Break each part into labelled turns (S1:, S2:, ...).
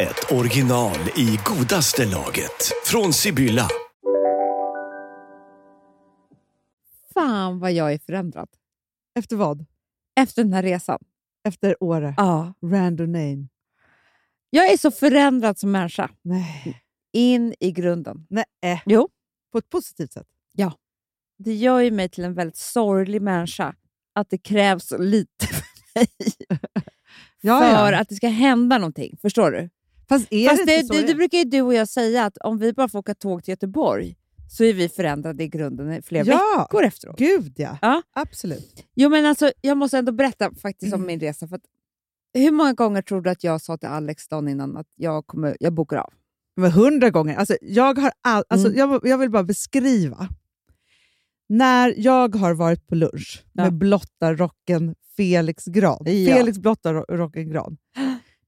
S1: ett original i godaste laget. Från Sibylla.
S2: Fan vad jag är förändrad.
S3: Efter vad?
S2: Efter den här resan.
S3: Efter Åre?
S2: Ja.
S3: Random name.
S2: Jag är så förändrad som människa.
S3: Nej.
S2: In i grunden.
S3: Nej. eh,
S2: Jo.
S3: På ett positivt sätt?
S2: Det gör ju mig till en väldigt sorglig människa att det krävs lite för mig för att det ska hända någonting. Förstår du?
S3: Fast är
S2: Fast
S3: det,
S2: det,
S3: inte
S2: det,
S3: så?
S2: det brukar ju du och jag säga att om vi bara får åka tåg till Göteborg så är vi förändrade i grunden i flera
S3: Ja.
S2: veckor efteråt.
S3: Gud ja.
S2: Ja.
S3: Absolut.
S2: Jo, men alltså, jag måste ändå berätta faktiskt om min resa. För att, hur många gånger tror du att jag sa till Alex dagen innan att jag, kommer, jag bokar av?
S3: Men hundra gånger. Alltså, jag, har all, alltså,
S2: Mm.
S3: jag, jag vill bara beskriva. När jag har varit på lunch
S2: Ja.
S3: med blotta rocken Felix Gran.
S2: Ja.
S3: Felix blotta ro- rocken Gran.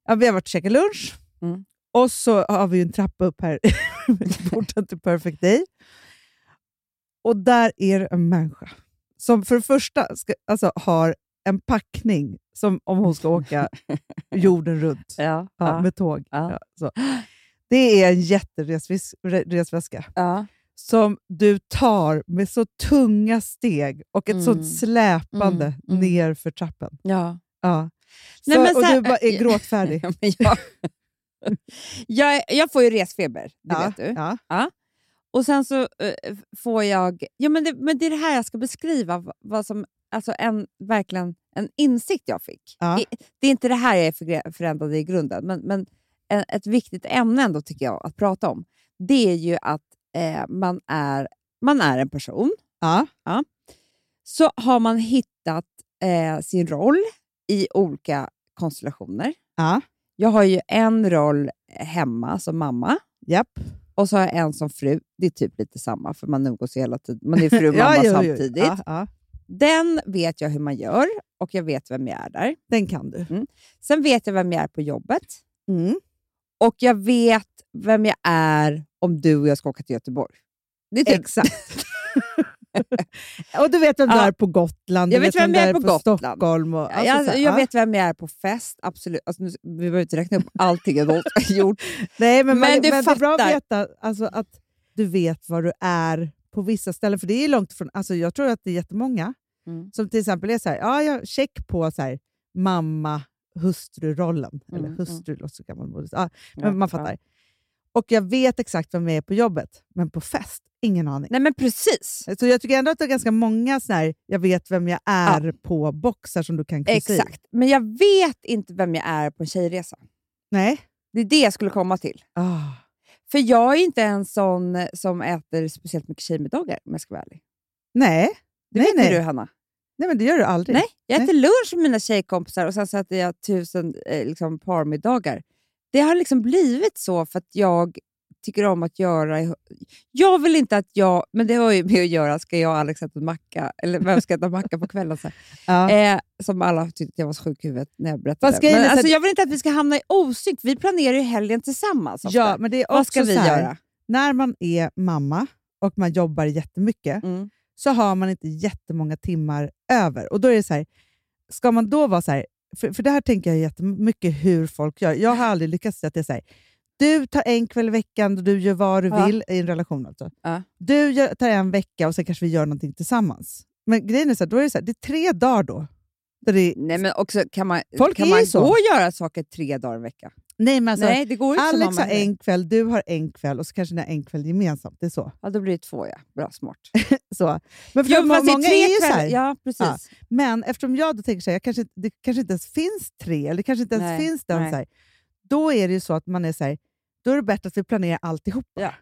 S3: Ja, vi har varit och käkat lunch.
S2: Mm.
S3: Och så har vi ju en trappa upp här i porten till Perfect Day. Och där är det en människa som för det första ska, alltså, har en packning som om hon ska åka jorden runt
S2: Ja.
S3: ja, med tåg.
S2: Ja.
S3: Ja, så. Det är en jätteresväska
S2: ja.
S3: som du tar med så tunga steg och ett
S2: Mm.
S3: sånt släpande
S2: Mm, mm.
S3: ner för trappen.
S2: ja.
S3: Ja.
S2: Nej,
S3: så,
S2: men så
S3: och
S2: här- eh,
S3: du bara är gråtfärdig.
S2: Ja, men jag, jag, jag får ju resfeber, det
S3: ja,
S2: vet du.
S3: Ja.
S2: Och sen så eh, får jag... Ja, men, det, men det är det här jag ska beskriva, v- vad som, alltså en, verkligen en insikt jag fick.
S3: Ja.
S2: I- Det är inte det här jag är förgre- förändrad i grunden, men, men eh, ett viktigt ämne ändå tycker jag att prata om, det är ju att eh, man, är, man är en person,
S3: Ja.
S2: så har man hittat eh, sin roll i olika konstellationer.
S3: Ja.
S2: Jag har ju en roll hemma som mamma.
S3: Japp.
S2: Och så har jag en som fru. Det är typ lite samma, för man umgås ju hela tiden. Man är fru och mamma
S3: Ja, jo, jo.
S2: samtidigt.
S3: Ja, ja.
S2: Den vet jag hur man gör och jag vet vem jag är där.
S3: Den kan du.
S2: Mm. Sen vet jag vem jag är på jobbet
S3: Mm.
S2: och jag vet vem jag är om du och jag ska åka till Göteborg. Det är typ.
S3: Exakt. och du vet vem du
S2: Ja.
S3: är på Gotland, du
S2: Jag vet vem jag är
S3: du
S2: på Gotland.
S3: Stockholm. Och, alltså, så
S2: jag,
S3: här,
S2: jag
S3: ja.
S2: vet vem jag är på fest, absolut. Alltså, nu, vi behöver inte räkna upp allting jag har gjort.
S3: Nej, men,
S2: Men
S3: man, men,
S2: du
S3: det är bra att
S2: fattar.
S3: veta alltså, att du vet var du är på vissa ställen. För det är långt från, alltså, Jag tror att det är jättemånga
S2: Mm.
S3: som till exempel är så här, ja, jag check på så här, mamma hustrurollen. Eller
S2: Mm,
S3: hustru låter så gammalmodigt. Ja,
S2: Ja,
S3: men man fattar.
S2: ja.
S3: Och jag vet exakt vem jag är på jobbet, men på fest, ingen aning.
S2: Nej, men precis.
S3: Så jag tycker ändå att det är ganska många såna här, jag vet vem jag är på boxar som du kan kryssa i.
S2: Exakt. Men jag vet inte vem jag är på en tjejresa.
S3: Nej.
S2: Det är det jag skulle komma till.
S3: Ah.
S2: För jag är inte en sån eh, som äter speciellt mycket tjejmiddagar om jag ska vara ärlig.
S3: Nej.
S2: Det
S3: nej,
S2: vet
S3: nej.
S2: ju du Hanna.
S3: nej, men det gör du aldrig.
S2: Nej, jag äter lunch med mina tjejkompisar och sen så äter jag tusen eh, liksom, parmiddagar. Det har liksom blivit så för att jag tycker om att göra... i- Jag vill inte att jag... Men det har ju med att göra, ska jag och Alex äta macka? Eller vem ska äta macka på kvällen? Så här.
S3: Ja.
S2: Eh, som alla tyckte att jag var så sjuk i huvudet när jag berättade.
S3: Fast
S2: det.
S3: grejen är
S2: Men,
S3: så
S2: alltså,
S3: att-
S2: jag vill inte att vi ska hamna i osynk. Vi planerar ju helgen tillsammans. ofta.
S3: Ja, men det är också
S2: Vad ska vi
S3: så här,
S2: göra?
S3: När man är mamma och man jobbar jättemycket
S2: Mm.
S3: så har man inte jättemånga timmar över. Och då är det så här, ska man då vara så här, för, för det här tänker jag jättemycket hur folk gör. Jag har aldrig lyckats säga att det är så här, du tar en kväll i veckan och du gör vad du
S2: Ja.
S3: vill i en relation. Alltså.
S2: Ja.
S3: Du gör, tar en vecka och sen kanske vi gör någonting tillsammans. Men grejen är så här, då är det så här, det är tre dagar då. Där det är,
S2: Nej, men också, kan man,
S3: Folk
S2: kan
S3: är
S2: man
S3: ju så.
S2: gå och göra saker tre dagar i veckan?
S3: nej, men alltså,
S2: Nej, det går ju inte
S3: Alex
S2: som
S3: har
S2: mamma säger.
S3: en kväll, du har en kväll och så kanske ni har en kväll gemensamt. Det är så.
S2: Ja, då blir det två, ja. Bra, smart.
S3: så. Men, för
S2: Jo,
S3: att må-
S2: fast det
S3: många är ju så
S2: kvällar-
S3: här,
S2: Ja, precis.
S3: men eftersom jag då tänker så här, jag kanske, inte- det kanske inte ens finns tre, eller det kanske inte ens
S2: Nej,
S3: finns den,
S2: nej.
S3: så här, då är det ju så att man är så här, då är det bättre att vi planerar alltihopa.
S2: Ja.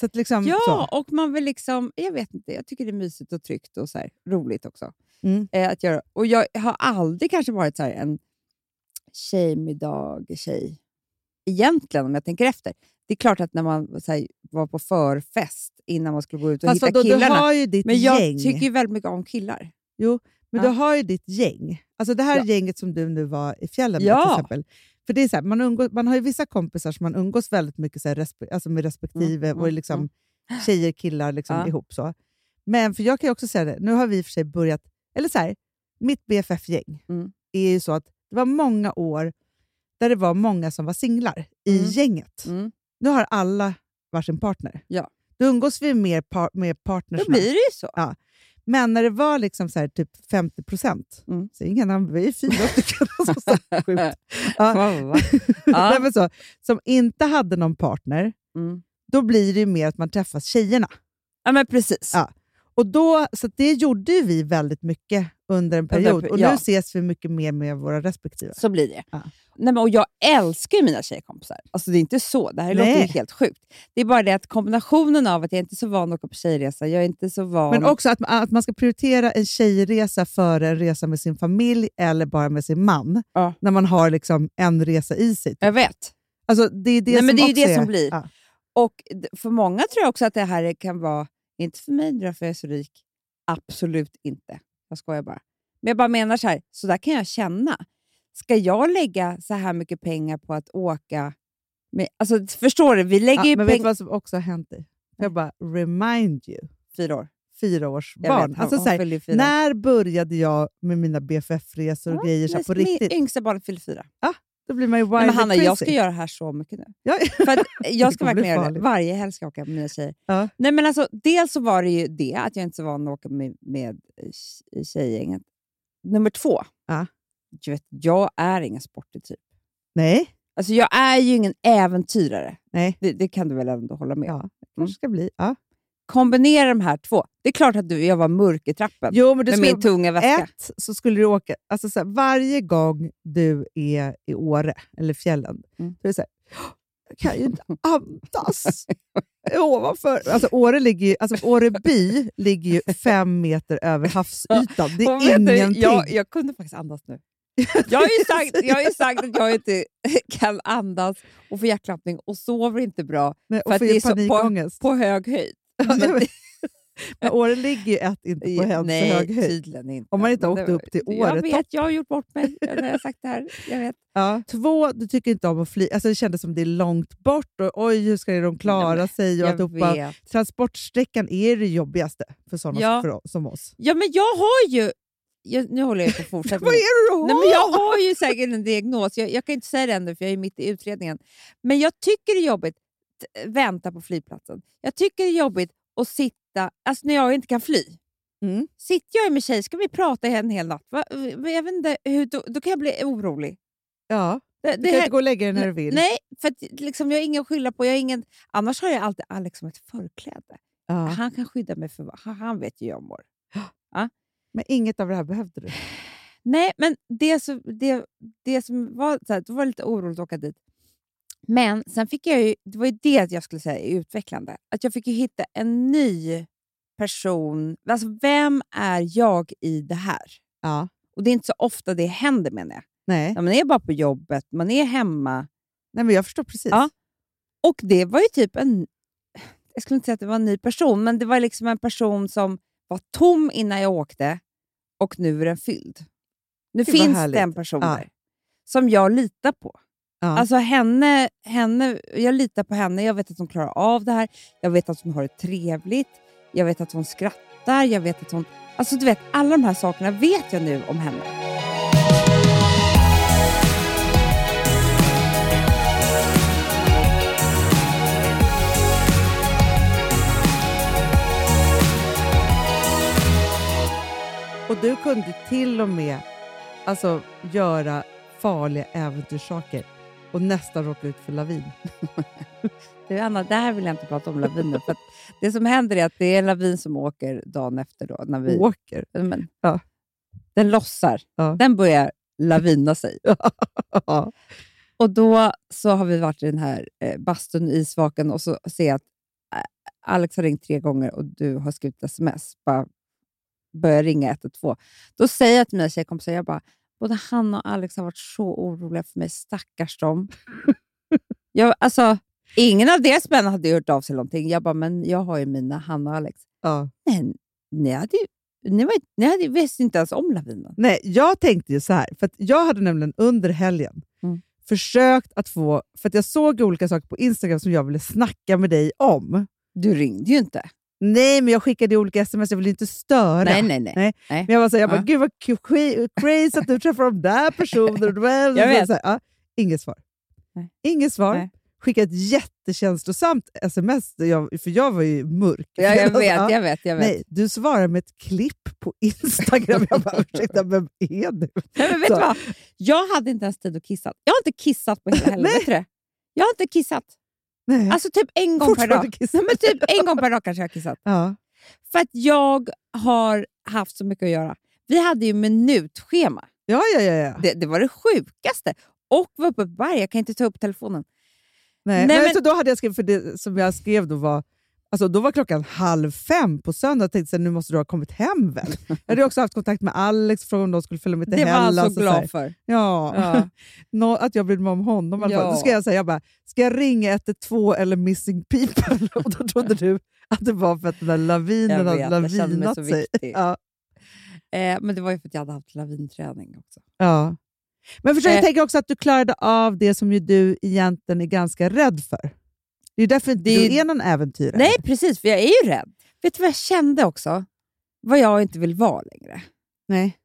S3: Så att liksom,
S2: Ja,
S3: så.
S2: och man vill liksom... Jag vet inte, jag tycker det är mysigt och tryggt och så här, roligt också.
S3: Mm.
S2: Eh, att göra. Och jag har aldrig kanske varit så här en tjejmiddag, tjej. egentligen, om jag tänker efter. Det är klart att när man så här, var på förfest innan man skulle gå ut och
S3: Fast
S2: hitta
S3: vadå, du
S2: killarna.
S3: har ju ditt
S2: men jag
S3: gäng.
S2: tycker ju väldigt mycket om killar.
S3: Men
S2: Ja.
S3: du har ju ditt gäng. Alltså det här
S2: Ja.
S3: gänget som du nu var i fjällen med
S2: Ja.
S3: till exempel. För det är så här, man, umgås, man har ju vissa kompisar som man umgås väldigt mycket så här, respe, alltså med respektive
S2: Mm,
S3: och
S2: mm,
S3: liksom tjejer killar liksom
S2: Ja.
S3: ihop. så. Men för jag kan ju också säga det, nu har vi i och för sig börjat, eller så här, mitt BFF-gäng
S2: Mm.
S3: är ju så att det var många år där det var många som var singlar i
S2: Mm.
S3: gänget.
S2: Mm.
S3: Nu har alla varsin partner.
S2: Ja.
S3: Då umgås vi mer par, med partners.
S2: Då blir det ju så.
S3: Men när det var liksom så här, typ 50 procent,
S2: Mm.
S3: så ingen annan, vi är fyra stycken som sa sjukt. Ja.
S2: Fan, vad- Ja.
S3: Nej, men så, som inte hade någon partner,
S2: Mm.
S3: då blir det ju mer att man träffas tjejerna.
S2: Ja, men precis.
S3: Ja. Och då, så att det gjorde ju vi väldigt mycket under
S2: Under
S3: en
S2: en
S3: period
S2: per-
S3: och nu
S2: ja.
S3: ses vi mycket mer med våra respektive.
S2: Så blir det.
S3: Ja.
S2: Nej, men, och jag älskar ju mina tjejkompisar. Alltså, det är inte så. Det här låter ju
S3: Nej.
S2: helt sjukt. Det är bara det att kombinationen av att jag inte är så van att åka på tjejresa, jag är inte så van...
S3: Men också att, att man ska prioritera en tjejresa före en resa med sin familj eller bara med sin man,
S2: Ja.
S3: när man har liksom en resa i sig.
S2: jag vet.
S3: Alltså, det är det
S2: Nej,
S3: som
S2: men det är ju
S3: också
S2: det som blir.
S3: Ja.
S2: Och d- för många tror jag också att det här kan vara, inte för mig då, för jag är så rik. Absolut inte. Jag skojar bara. Men jag bara menar så här, så där kan jag känna. Ska jag lägga så här mycket pengar på att åka? Med, alltså, förstår du? Vi lägger
S3: Ja,
S2: ju
S3: men vet du
S2: pengar...
S3: vad som också har hänt dig? Jag bara, remind you,
S2: Fyra år. Jag
S3: fyraårsbarn.
S2: vet,
S3: Alltså,
S2: hon
S3: så här,
S2: fyller ju fyra.
S3: när började jag med mina BFF-resor och
S2: Ja,
S3: grejer så här,
S2: Mitt-
S3: på
S2: mitt
S3: riktigt?
S2: yngsta barnet fyller fyra.
S3: Då blir man ju
S2: Nej,
S3: wild
S2: men Hanna,
S3: crazy.
S2: jag ska göra det här så mycket nu.
S3: Ja,
S2: För att jag ska
S3: kommer bli
S2: verkligen göra det.
S3: farligt.
S2: Varje helg ska jag åka med mina tjejer.
S3: Ja.
S2: Nej, men alltså, dels så var det ju det, att jag inte är så van att åka med, med tj- tjejgänget. Nummer två.
S3: Ja.
S2: Du vet, jag är ingen sportig typ.
S3: Nej,
S2: Alltså, jag är ju ingen äventyrare.
S3: Nej.
S2: Det, det kan du väl ändå hålla med om?
S3: Ja. kanske ska bli. Ja.
S2: Kombinera de här två. Det är klart att du, jag var mörk i trappen
S3: Jo, men du
S2: med
S3: skulle,
S2: min tunga väska.
S3: ett, så skulle du åka... Alltså, så här, varje gång du är i Åre eller fjällen,
S2: Mm.
S3: då är det så här, jag kan ju inte andas ovanför. Alltså, Åre, ligger ju, alltså, Åre by ligger ju fem meter över havsytan. Det
S2: Och
S3: är
S2: vet du,
S3: ingenting.
S2: jag, jag kunde faktiskt andas nu. Jag har ju sagt, jag har ju sagt att jag inte kan andas och får hjärtklappning och sover inte bra
S3: Nej,
S2: För
S3: och
S2: att
S3: för
S2: det är
S3: ju
S2: så på-
S3: panikångest.
S2: på hög höjd.
S3: Ja, jag vet. Men Åre ligger ju ett inte på helt
S2: Nej,
S3: så hög höjd.
S2: tydligen inte.
S3: Om man inte har
S2: Men
S3: åkt
S2: det-
S3: upp till
S2: Jag
S3: Åre
S2: vet,
S3: topp.
S2: jag har gjort bort mig när jag har sagt det här. Jag vet.
S3: Ja. Två, du tycker inte om att flyga. Alltså, det kändes som det är långt bort och oj, hur ska de klara
S2: Nej, men
S3: sig? Och
S2: Jag
S3: alltihopa.
S2: vet.
S3: Transportsträckan är det jobbigaste för sådana
S2: Ja.
S3: för oss, som oss.
S2: Ja, men jag har ju... Jag, nu håller jag på att fortsätta.
S3: Vad är det du har?
S2: Nej, men jag har ju säkert en diagnos. Jag, jag kan inte säga det ännu för jag är mitt i utredningen. Men jag tycker det är jobbigt att vänta på flygplatsen. Jag tycker det är jobbigt att sitta, alltså när jag inte kan fly.
S3: Mm.
S2: Sitter jag med tjej ska vi prata en hel natt. Va? Jag vet inte, hur, då, då kan jag bli orolig.
S3: Ja,
S2: Det,
S3: du
S2: det
S3: kan
S2: här-
S3: inte gå och lägga dig när du vill.
S2: Nej, för att, liksom, jag har ingen att skylla på. Jag har ingen, annars har jag alltid Alex som ett förkläde.
S3: Ja.
S2: Han kan skydda mig, för vad- han, han vet ju hur jag mår.
S3: Men inget av det här behövde du.
S2: Nej, men det som, det, det som var så här, det var lite oroligt att åka dit. Men sen fick jag ju, det var ju det jag skulle säga är utvecklande. Att jag fick ju hitta en ny person. Alltså, vem är jag i det här?
S3: Ja.
S2: Och det är inte så ofta det händer menar jag.
S3: Nej.
S2: När man är bara på jobbet, man är hemma.
S3: Nej, men jag förstår precis.
S2: Ja. Och det var ju typ en... Jag skulle inte säga att det var en ny person, men det var liksom en person som var tom innan jag åkte och nu är den fylld. Nu
S3: Gud, vad
S2: finns det
S3: härligt.
S2: en person
S3: Ja.
S2: där som jag litar på.
S3: Ja.
S2: Alltså henne, henne, jag litar på henne, jag vet att hon klarar av det här, jag vet att hon har det trevligt, jag vet att hon skrattar, jag vet att hon... Alltså du vet, alla de här sakerna vet jag nu om henne.
S3: Och du kunde till och med alltså, göra farliga äventyrssaker och nästan råka ut för lavin.
S2: Du Anna, det här vill jag inte prata om laviner. för att det som händer är att det är en lavin som åker dagen efter. Då, när vi,
S3: Åker.
S2: men,
S3: Ja.
S2: Den lossar.
S3: Ja.
S2: Den börjar lavina sig.
S3: Ja.
S2: Och då så har vi varit i den här eh, bastun i isvaken och så ser jag att eh, Alex har ringt tre gånger och du har skrivit sms. Bara börjar ringa 112. Då säger jag till mina tjejkompisar, jag bara, både han och Alex har varit så oroliga för mig, stackars dem.
S4: Jag, alltså, ingen av deras män hade ju hört av sig någonting. Jag bara, men jag har ju mina, Hanna och Alex.
S3: Ja.
S4: Men ni, hade ju, ni, var, ju- ni hade, ju- visste inte ens om lavinen.
S3: Nej, jag tänkte ju så här, för att jag hade nämligen under helgen
S4: Mm.
S3: försökt att få... För att jag såg olika saker på Instagram som jag ville snacka med dig om.
S4: Du ringde ju inte.
S3: Nej, men jag skickade ju olika sms, jag ville ju inte störa.
S4: Nej, nej, nej.
S3: Nej. Men jag var så här, jag bara,
S4: Ja.
S3: gud vad cra- crazy att du träffar de där personerna.
S4: Jag vet.
S3: Så här, ja, inget svar.
S4: Nej.
S3: Inget svar.
S4: Nej.
S3: Skicka ett jättekänslosamt sms, där jag, för jag var ju mörk.
S4: Ja, jag
S3: Alltså,
S4: vet,
S3: ja.
S4: jag vet, jag vet.
S3: Nej, du svarar med ett klipp på Instagram. Jag bara, ursäkta, vem är du?
S4: Nej, men vet
S3: Så.
S4: du vad? Jag hade inte ens tid att kissa. Jag har inte kissat på hela helgen.
S3: Nej.
S4: vet du det? jag har inte kissat.
S3: Nej,
S4: Alltså typ en gång per dag.
S3: fortfarande kissar.
S4: Nej, men typ en gång per dag kanske jag har kissat.
S3: Ja.
S4: För att jag har haft så mycket att göra. Vi hade ju minutschema.
S3: Ja, ja, ja. ja.
S4: Det, det var det sjukaste. Och var uppe på berg. Jag kan inte ta upp telefonen.
S3: Nej,
S4: Nej,
S3: men,
S4: men-
S3: Så då hade jag skrivit, för det som jag skrev då var, alltså då var klockan halv fem på söndag. Jag tänkte så här, nu måste du ha kommit hem väl? Jag hade också haft kontakt med Alex, frågade om de skulle följa med
S4: Det,
S3: till
S4: var han
S3: Hellas.
S4: så
S3: och så här.
S4: glad för.
S3: Ja.
S4: Ja.
S3: Nå, att jag brydde mig om honom i alla fall.
S4: Ja.
S3: Då ska jag säga, jag bara, ska jag ringa 112 eller Missing People? Och då trodde du att det var för att den där
S4: Jag
S3: lavinen
S4: vet,
S3: hade
S4: jag kände mig
S3: lavinat
S4: så
S3: sig.
S4: viktig.
S3: Ja.
S4: Eh, men det var ju för att jag hade haft lavinträning också.
S3: Ja. Men försök
S4: Eh.
S3: jag tänka också att du klarade av det som ju du egentligen är ganska rädd för. Det är ju därför inte
S4: Det-
S3: du är någon äventyrare.
S4: Nej, precis. För jag är ju rädd. Vet du vad jag kände också? Vad jag inte vill vara längre.
S3: Nej.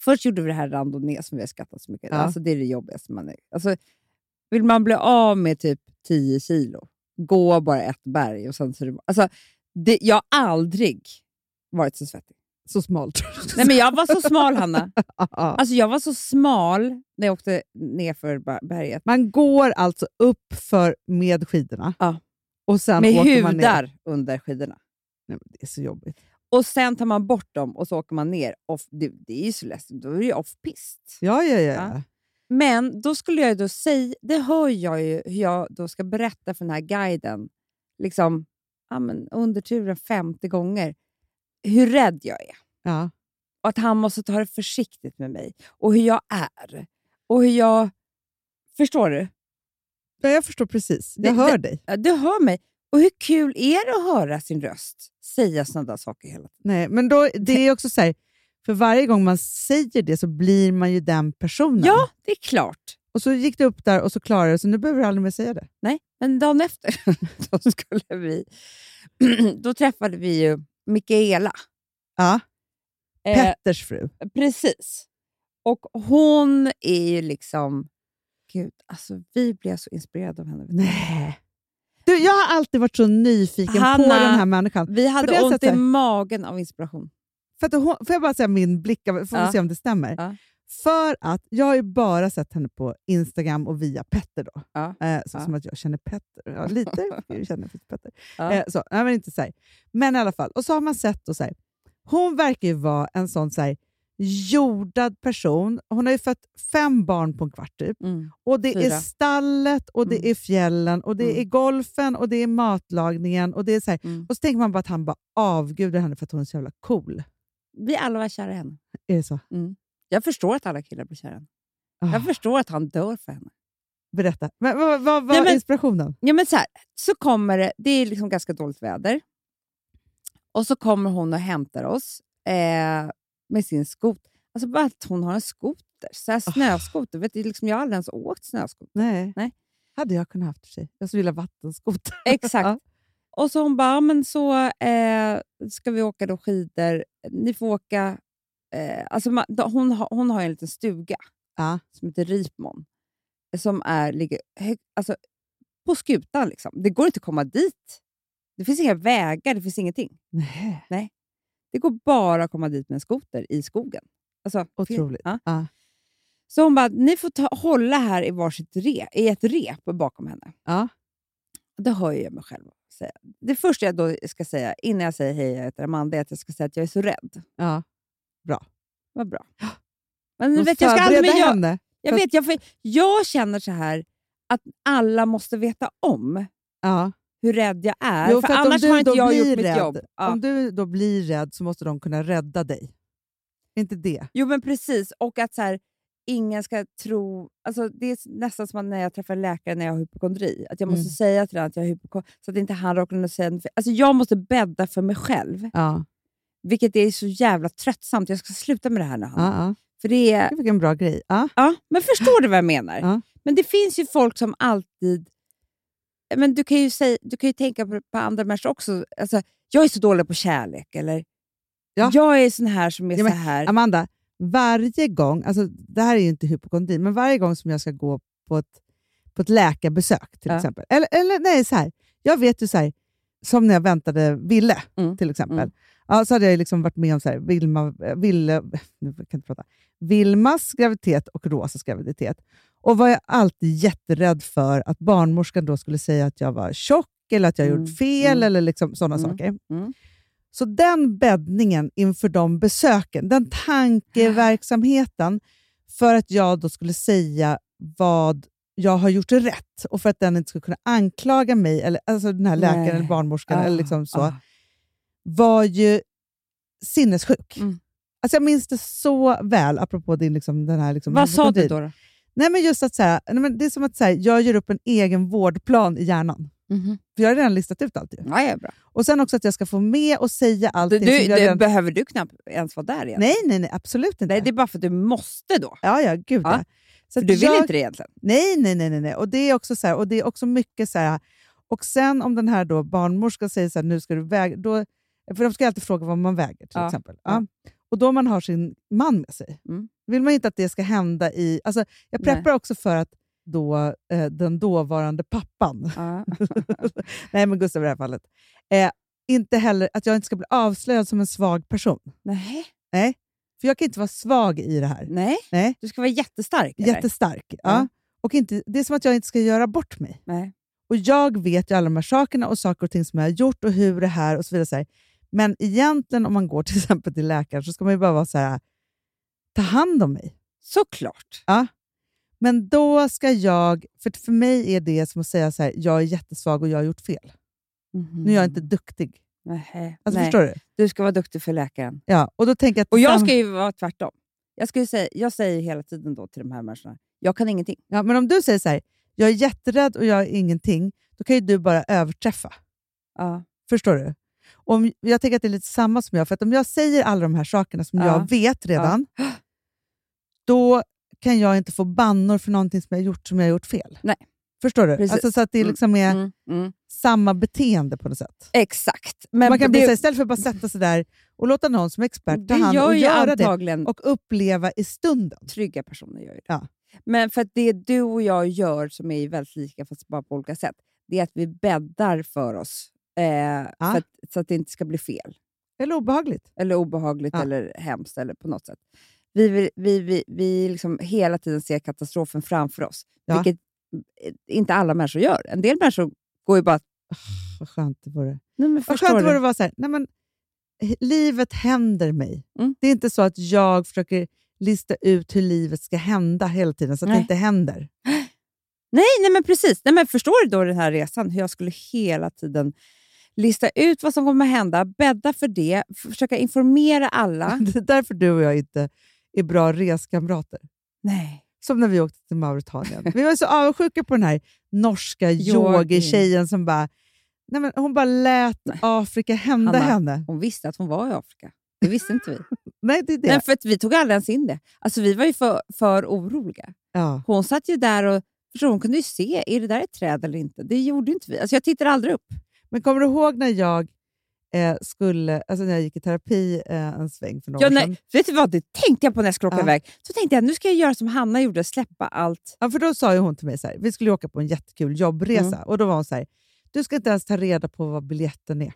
S4: Först gjorde vi det här randonnée som vi har skrattat så mycket.
S3: Ja.
S4: Alltså, det är det jobbigaste man är. Alltså, vill man bli av med typ 10 kilo, gå bara ett berg och sen så är det, alltså, det, Jag har aldrig varit så svettig.
S3: Så smalt.
S4: Nej, men jag var så smal, Hanna.
S3: Ja.
S4: Alltså, jag var så smal när jag åkte ner för ba- berget.
S3: Man går alltså upp för med skidorna
S4: Ja.
S3: och sen
S4: Med
S3: åker man ner.
S4: hudar under skidorna.
S3: Nej, men det är så jobbigt.
S4: Och sen tar man bort dem och så åker man ner. Off, det, det är ju så läskigt. Då är det ju off-pist.
S3: Ja, ja, ja.
S4: Ja.
S3: ja.
S4: Men då skulle jag ju då säga, det hör jag ju hur jag då ska berätta för den här guiden, liksom, ja, men under turen 50 gånger, hur rädd jag är.
S3: ja.
S4: Och att han måste ta det försiktigt med mig. Och hur jag är. Och hur jag... Förstår du?
S3: ja jag förstår precis. Jag
S4: Det-
S3: hör dig.
S4: Ja, Du hör mig. Och hur kul är det att höra sin röst säga sådana där saker hela tiden?
S3: Nej, men då, det är också så här, för varje gång man säger det så blir man ju den personen.
S4: Ja, det är klart.
S3: Och så gick du upp där och så klarade du så nu behöver du aldrig mer säga det.
S4: Nej, men dagen efter då skulle vi... då träffade vi ju Mikaela.
S3: Ja.
S4: Eh,
S3: Petters fru.
S4: Precis. Och hon är ju liksom... Gud, alltså vi blev så inspirerade av henne.
S3: Nej. Du, jag har alltid varit så nyfiken
S4: Hanna-
S3: på den här människan.
S4: Vi
S3: På
S4: hade
S3: det
S4: ont i
S3: sättet.
S4: magen av inspiration.
S3: För att hon, får jag bara säga min blick, av- får vi
S4: Ja.
S3: se om det stämmer.
S4: Ja.
S3: För att jag har ju bara sett henne på Instagram och via Petter. Då.
S4: Ja.
S3: Eh, så
S4: Ja.
S3: Som att jag känner Petter. Ja, lite jag känner jag Petter.
S4: Ja.
S3: Eh, så, nej, men inte så här. Men i alla fall, och så har man sett då, så här, hon verkar ju vara en sån så här, jordad person. Hon har ju fött fem barn på en kvart typ. Och det
S4: Mm. Fyra.
S3: är stallet, och det
S4: Mm.
S3: är fjällen, och det
S4: Mm.
S3: är golfen, och det är matlagningen. Och, det är så här.
S4: Mm.
S3: och så tänker man bara att han bara avgudar henne för att hon är så jävla cool.
S4: Vi alla var kära i henne.
S3: Är det så?
S4: Jag förstår att alla killar blir kära i henne.
S3: Ah,
S4: Jag förstår att han dör för henne.
S3: Berätta. Men, vad vad var
S4: Nej, men-
S3: inspirationen?
S4: Ja, men så, här, så kommer det, det är liksom ganska dåligt väder. Och så kommer hon och hämtar oss eh, med sin skoter. Alltså bara att hon har en skoter, så här snöskoter. Vet du, liksom, jag har aldrig ens åkt snöskoter.
S3: Nej.
S4: Nej.
S3: Hade jag kunnat haft för sig. Jag skulle vilja ha vattenskoter.
S4: Exakt.
S3: Ja.
S4: Och så hon bara, "Ja, men så eh, ska vi åka då skidor. Ni får åka... Eh, alltså man, då, hon, har- hon har ju en liten stuga
S3: Ja.
S4: som heter Ripmon. Som är, ligger hög, alltså, på skutan. Liksom. Det går inte att komma dit. Det finns inga vägar, det finns ingenting.
S3: Nej.
S4: Det går bara att komma dit med en skoter i skogen. Alltså,
S3: Otroligt.
S4: Ja.
S3: Ja.
S4: Så hon bara, ni får ta, hålla här i varsitt re, i ett rep bakom henne.
S3: Ja.
S4: Det hör ju jag mig själv säga. Det första jag då ska säga innan jag säger hej, jag heter Amanda, är att jag ska säga att jag är så rädd.
S3: Ja.
S4: Vad bra. Men
S3: De
S4: vet, jag, ska aldrig,
S3: förberedde
S4: men jag,
S3: henne.
S4: jag, vet, jag, får- jag känner så här att alla måste veta om
S3: Ja.
S4: hur rädd jag är.
S3: Jo,
S4: för
S3: för att om
S4: annars
S3: du
S4: har inte
S3: då
S4: jag
S3: blir
S4: gjort mitt
S3: rädd,
S4: jobb. Ja.
S3: Om du då blir rädd så måste de kunna rädda dig. Inte det.
S4: Jo, men precis. Och att så här, ingen ska tro... Alltså det är nästan som när jag träffar läkare när jag har hypokondri. Att jag måste
S3: Mm.
S4: säga till den att jag har hypokondri, så att inte han råkar in och säga något. Alltså jag måste bädda för mig själv,
S3: Ja.
S4: vilket är så jävla tröttsamt. Jag ska sluta med det här nu, Hanna.
S3: Ja,
S4: För det är,
S3: ja. Gud, vilken bra grej. Ja.
S4: Ja, men förstår du vad jag menar?
S3: Ja.
S4: Men det finns ju folk som alltid... Men du, kan ju säga, du kan ju tänka på, på andra människor också. Alltså, jag är så dålig på kärlek. Eller,
S3: Ja.
S4: Jag är sån här som är
S3: Ja, men-
S4: så här.
S3: Amanda, varje gång, alltså det här är ju inte hypokondri, men varje gång som jag ska gå på ett, på ett läkarbesök till
S4: Ja.
S3: exempel. Eller, eller nej, så här. Jag vet ju så här, som när jag väntade Ville
S4: Mm,
S3: till exempel.
S4: mm.
S3: Ja, så hade jag liksom varit med om så här, Vilma, eh, Ville, nu kan jag inte prata, Vilmas graviditet och Rosas graviditet. Och var jag alltid jätterädd för att barnmorskan då skulle säga att jag var tjock eller att jag
S4: Mm,
S3: gjort fel
S4: mm.
S3: eller liksom sådana
S4: Mm,
S3: saker.
S4: mm.
S3: Så den bäddningen inför de besöken, den tankeverksamheten för att jag då skulle säga vad jag har gjort rätt och för att den inte skulle kunna anklaga mig, eller, alltså den här läkaren
S4: Nej.
S3: eller barnmorskan,
S4: Ah,
S3: eller liksom så,
S4: ah.
S3: var ju sinnessjuk.
S4: Mm.
S3: Alltså jag minns det så väl, apropå din, liksom, den här... Liksom,
S4: Vad sa du
S3: hypokondrin.
S4: då? då?
S3: Nej, men just att, så här, nej, men det är som att så här, jag gör upp en egen vårdplan i hjärnan. För jag har redan listat ut allt. Ju.
S4: Ja, ja, bra.
S3: Och sen också att jag ska få med och säga
S4: Mm. Du,
S3: allting
S4: du,
S3: som jag
S4: det
S3: redan...
S4: behöver du knappt ens vara där igen.
S3: Nej, nej, nej, absolut inte.
S4: Nej, det är bara för att du måste då.
S3: Ja, ja, gud
S4: Ja.
S3: ja. Så
S4: För
S3: att
S4: du vill
S3: jag-
S4: inte det egentligen.
S3: Nej, nej, nej. nej, nej. Och, det är också så här, och det är också mycket så här... Och sen om den här då barnmorskan säger så här, nu ska du väga... Då, för de ska alltid fråga vad man väger till
S4: Ja,
S3: exempel.
S4: ja.
S3: Ja. Och då man har sin man med sig.
S4: Mm.
S3: vill man ju inte att det ska hända i... Alltså, jag
S4: Nej.
S3: preppar också för att då, eh, den dåvarande pappan,
S4: Ja.
S3: nej men Gustav i det här fallet, eh, inte heller, att jag inte ska bli avslöjad som en svag person.
S4: Nej.
S3: För jag kan inte vara svag i det här.
S4: Nej.
S3: Nej.
S4: Du ska vara jättestark. eller?
S3: Jättestark. Ja.
S4: Ja.
S3: Och inte, det är som att jag inte ska göra bort mig.
S4: Nej.
S3: Och jag vet ju alla de här sakerna och saker och ting som jag har gjort och hur det här och så vidare. Så här. Men egentligen om man går till exempel till läkaren så ska man ju bara vara så här, ta hand om mig.
S4: Såklart.
S3: Men då ska jag, för för mig är det som att säga så här, jag är jättesvag och jag har gjort fel. Nu är jag inte duktig.
S4: Mm-hmm. Nej.
S3: Alltså,
S4: Mm. Nej.
S3: Förstår du?
S4: Du ska vara duktig för läkaren.
S3: Ja, och då tänker jag att
S4: Och jag
S3: sam-
S4: ska ju vara tvärtom. Jag, ska ju säga, jag säger hela tiden då till de här människorna, jag kan ingenting.
S3: ja, men om du säger så här, jag är jätterädd och jag är ingenting, då kan ju du bara överträffa.
S4: Ja.
S3: Förstår du? Om, jag tänker att det är lite samma som jag, för att om jag säger alla de här sakerna som
S4: Ja.
S3: jag vet redan, då kan jag inte få bannor för någonting som jag har gjort som jag har gjort fel.
S4: Nej.
S3: Förstår du?
S4: Precis.
S3: Alltså, så att det liksom är
S4: Mm, mm.
S3: samma beteende på något sätt.
S4: Exakt. Men
S3: Man kan bli
S4: det-
S3: så här, istället för att bara sätta sig där och låta någon som är expert ta
S4: det
S3: hand
S4: gör
S3: och
S4: ju
S3: göra det
S4: antagligen
S3: och uppleva i stunden.
S4: trygga personer. Gör ju det.
S3: Ja.
S4: Men för att det du och jag gör som är väldigt lika, fast bara på olika sätt, det är att vi bäddar för oss. Eh, för att, så att det inte ska bli fel,
S3: Eller obehagligt.
S4: eller obehagligt,
S3: Ja.
S4: eller hemskt eller på något sätt. Vi, vill- vi, vi, vi liksom hela tiden ser katastrofen framför oss,
S3: Ja.
S4: vilket eh, inte alla människor gör. En del människor går ju bara
S3: Vad skönt det vore.
S4: Nej, men
S3: Vad
S4: förstår
S3: skönt det
S4: du?
S3: vore att vara så här, nej men, he- livet händer mig.
S4: Mm.
S3: Det är inte så att jag försöker lista ut hur livet ska hända hela tiden så att
S4: Nej.
S3: det inte händer.
S4: Nej, nej, men precis. Nej, men förstår du då den här resan? Hur jag skulle hela tiden lista ut vad som kommer att hända, bädda för det, försöka informera alla.
S3: Det är därför du och jag inte är bra reskamrater.
S4: Nej.
S3: Som när vi åkte till Mauritanien. Vi var så avundsjuka på den här norska
S4: Yogin.
S3: yogi-tjejen som bara, nej men, hon bara lät
S4: Nej.
S3: Afrika hända
S4: Hanna.
S3: henne.
S4: Hon visste att hon var i Afrika. Det visste inte vi.
S3: Nej, det är det.
S4: Nej, för att vi tog aldrig ens in det. Alltså, vi var ju för, för oroliga.
S3: ja.
S4: Hon satt ju där och förstår, hon kunde ju se, är det där ett träd eller inte? Det gjorde ju inte vi. Alltså, jag tittar aldrig upp.
S3: Men kommer du ihåg när jag eh, skulle, alltså när jag gick i terapi eh, en sväng för några
S4: Ja,
S3: år sedan?
S4: nej, vet du vad? Det tänkte jag på när jag skulle åka
S3: Ja.
S4: iväg. Så tänkte jag, nu ska jag göra som Hanna gjorde, släppa allt.
S3: Ja, för då sa ju hon till mig så här, vi skulle ju åka på en jättekul jobbresa och då var hon så här, du ska inte ens ta reda på vad biljetten är.